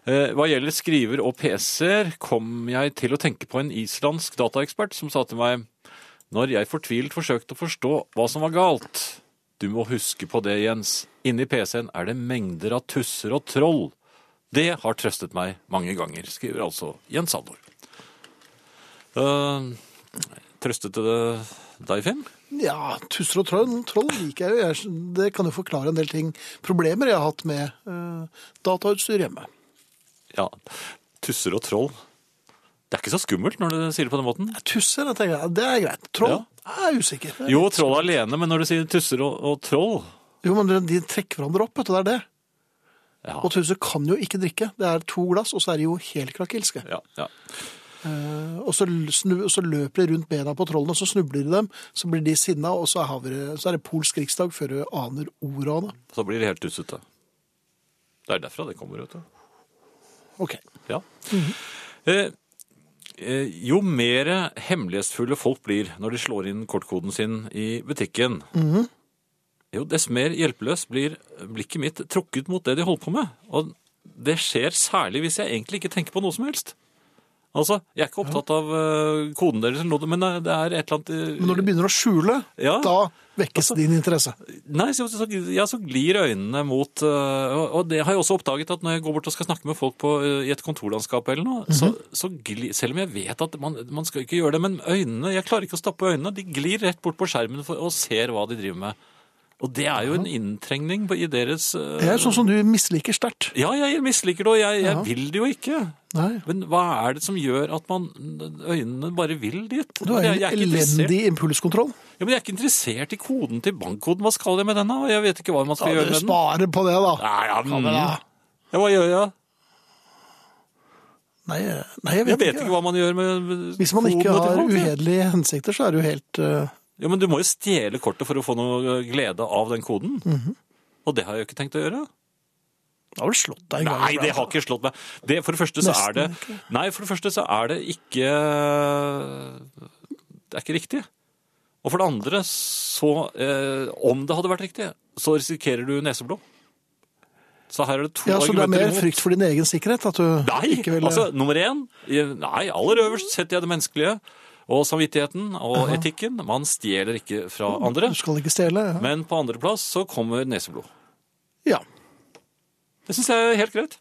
Eh, Hva gjelder skriver og PC-er, kom jeg til å tenke på en islandsk dataekspert som sa til meg når jeg fortvilt forsøkte å forstå hva som var galt. Du må huske på det, Jens. Inni PC-en er det mengder av tusser og troll. Det har trøstet meg mange ganger, skriver altså Jens Andor. Eh, trøstet det deg, Finn?
Ja, tusser og troll, troll liker jeg jo. Jeg, det kan jo forklare en del ting. Problemer jeg har hatt med eh, datautstyr hjemme.
Ja, tusser og troll. Det er ikke så skummelt når du sier det på den måten.
Tusser, jeg tenker, jeg, det er greit. Troll
Ja.
jeg er usikker.
Jo, troll alene, men når du sier tusser og, og troll
Jo, men de trekker hverandre opp, vet du, det er det.
ja,
Og tusser kan jo ikke drikke. Det er to glass, og så er de jo helt krakilske.
ja, ja.
Og så, l- snu, og så løper de rundt bena på trollene, og så snubler de dem. Så blir de sinna, og så, har vi, det- så er det polsk riksdag før du aner ordet av det.
Så blir det helt tussete. Det er derfra det kommer, vet du.
Ok.
Ja. Eh, eh, jo mer hemmelighetsfulle folk blir når de slår inn kortkoden sin i butikken, jo dess mer hjelpeløs blir blikket mitt trukket mot det de holder på med. Og det skjer særlig hvis jeg egentlig ikke tenker på noe som helst. Altså, Jeg er ikke opptatt av eh, koden deres, eller noe, men eh, det er et eller annet eh,
Men når du begynner å skjule,
Ja. Altså,
da vekkes din interesse.
Nei, så, så, ja, så glir øynene mot øh, og- Og det har jeg også oppdaget at når jeg går bort og skal snakke med folk på, øh, i et kontorlandskap eller noe, så,
Mhm.
så glir Selv om jeg vet at man, man skal ikke gjøre det, men øynene Jeg klarer ikke å stappe øynene. De glir rett bort på skjermen for, og ser hva de driver med. Og det er jo en inntrengning på, i deres øh,
Det er sånn som du misliker sterkt.
Ja, jeg misliker det, og jeg, jeg
Ja.
vil det jo ikke.
Nei.
Men hva er det som gjør at man, øynene bare vil dit?
Du har
jeg,
en
jeg er ikke interessert-
elendig impulskontroll.
ja, men jeg er ikke interessert i koden til bankkoden. Hva skal jeg med denne? Jeg vet ikke hva man skal
Ja,
gjøre
du
med den.
sparer på det, da.
Nei, ja,
men
mm.
da-
ja, hva gjør jeg?
Nei, nei jeg vet,
Jeg vet ikke hva man gjør med med
Hvis man ikke
kodene til
har
folk, ja.
uhedelige hensikter, så er det jo helt eh,
Ja, men du må jo stjele kortet for å få noe eh, glede av den koden.
Mhm.
Og det har jeg jo ikke tenkt å gjøre.
Det har vel slått deg en gang.
Nei, det har ikke slått meg. Det, for det første så er
Nesten
det
ikke.
Nei, for det første så er det ikke eh, Det er ikke riktig. Og for det andre, så eh, Om det hadde vært riktig, så risikerer du neseblod. Så her er det to
Ja, Så det er
argumenter
mer
imot.
frykt for din egen sikkerhet? At du
Nei,
ikke vil eh,
altså nummer én Nei, aller øverst setter jeg det menneskelige og samvittigheten og etikken. Man stjeler ikke fra andre.
Du skal ikke stjele? Ja.
Men på andreplass så kommer neseblod.
ja.
Det syns jeg er helt greit.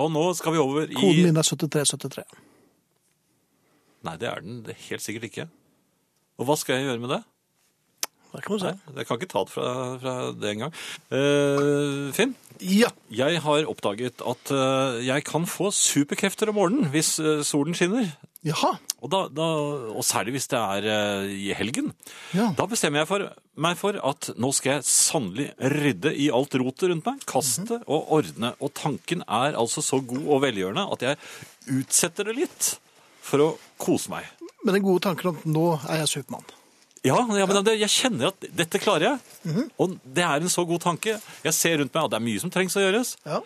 Og nå skal vi over i
Mhm. Koden min er 7373.
Nei, det er den det er helt sikkert ikke. Og hva skal jeg gjøre med det?
Det kan du si.
Nei, jeg kan ikke ta det fra, fra det engang. Uh, Finn?
Ja.
Jeg har oppdaget at eh, jeg kan få superkrefter om morgenen hvis eh, solen skinner.
Jaha.
Og, da, da, og særlig hvis det er eh, i helgen.
Ja.
Da bestemmer jeg for, meg for at nå skal jeg sannelig rydde i alt rotet rundt meg. Kaste og ordne. Og tanken er altså så god og velgjørende at jeg utsetter det litt for å kose meg.
Med den gode tanken at nå er jeg Supermann.
Ja, ja men det, jeg kjenner at dette klarer jeg. Og det er en så god tanke. Jeg ser rundt meg at det er mye som trengs å gjøres.
Ja.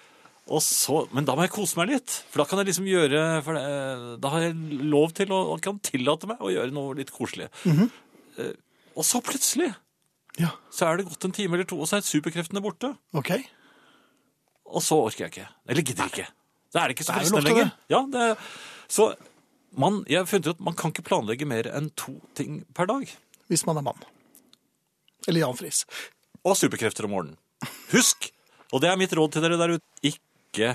Og så, men da må jeg kose meg litt, for da kan jeg liksom gjøre for det, eh, Da har jeg lov til å, og kan tillate meg å gjøre noe litt koselig. Eh, Og så plutselig
ja.
så er det gått en time eller to, og så er superkreftene borte.
Ok.
Og så orker jeg ikke. Eller gidder ikke. Da er det ikke så
Det er jo
fristende
lov til
lenger. Ja, det er, så man, jeg har funnet ut at man kan ikke planlegge mer enn to ting per dag.
Hvis man er mann. Eller Jan Friis.
Og superkrefter om morgenen. Husk, og det er mitt råd til dere der ute, ikke,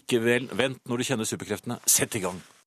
ikke vel, vent når du kjenner superkreftene. Sett i gang.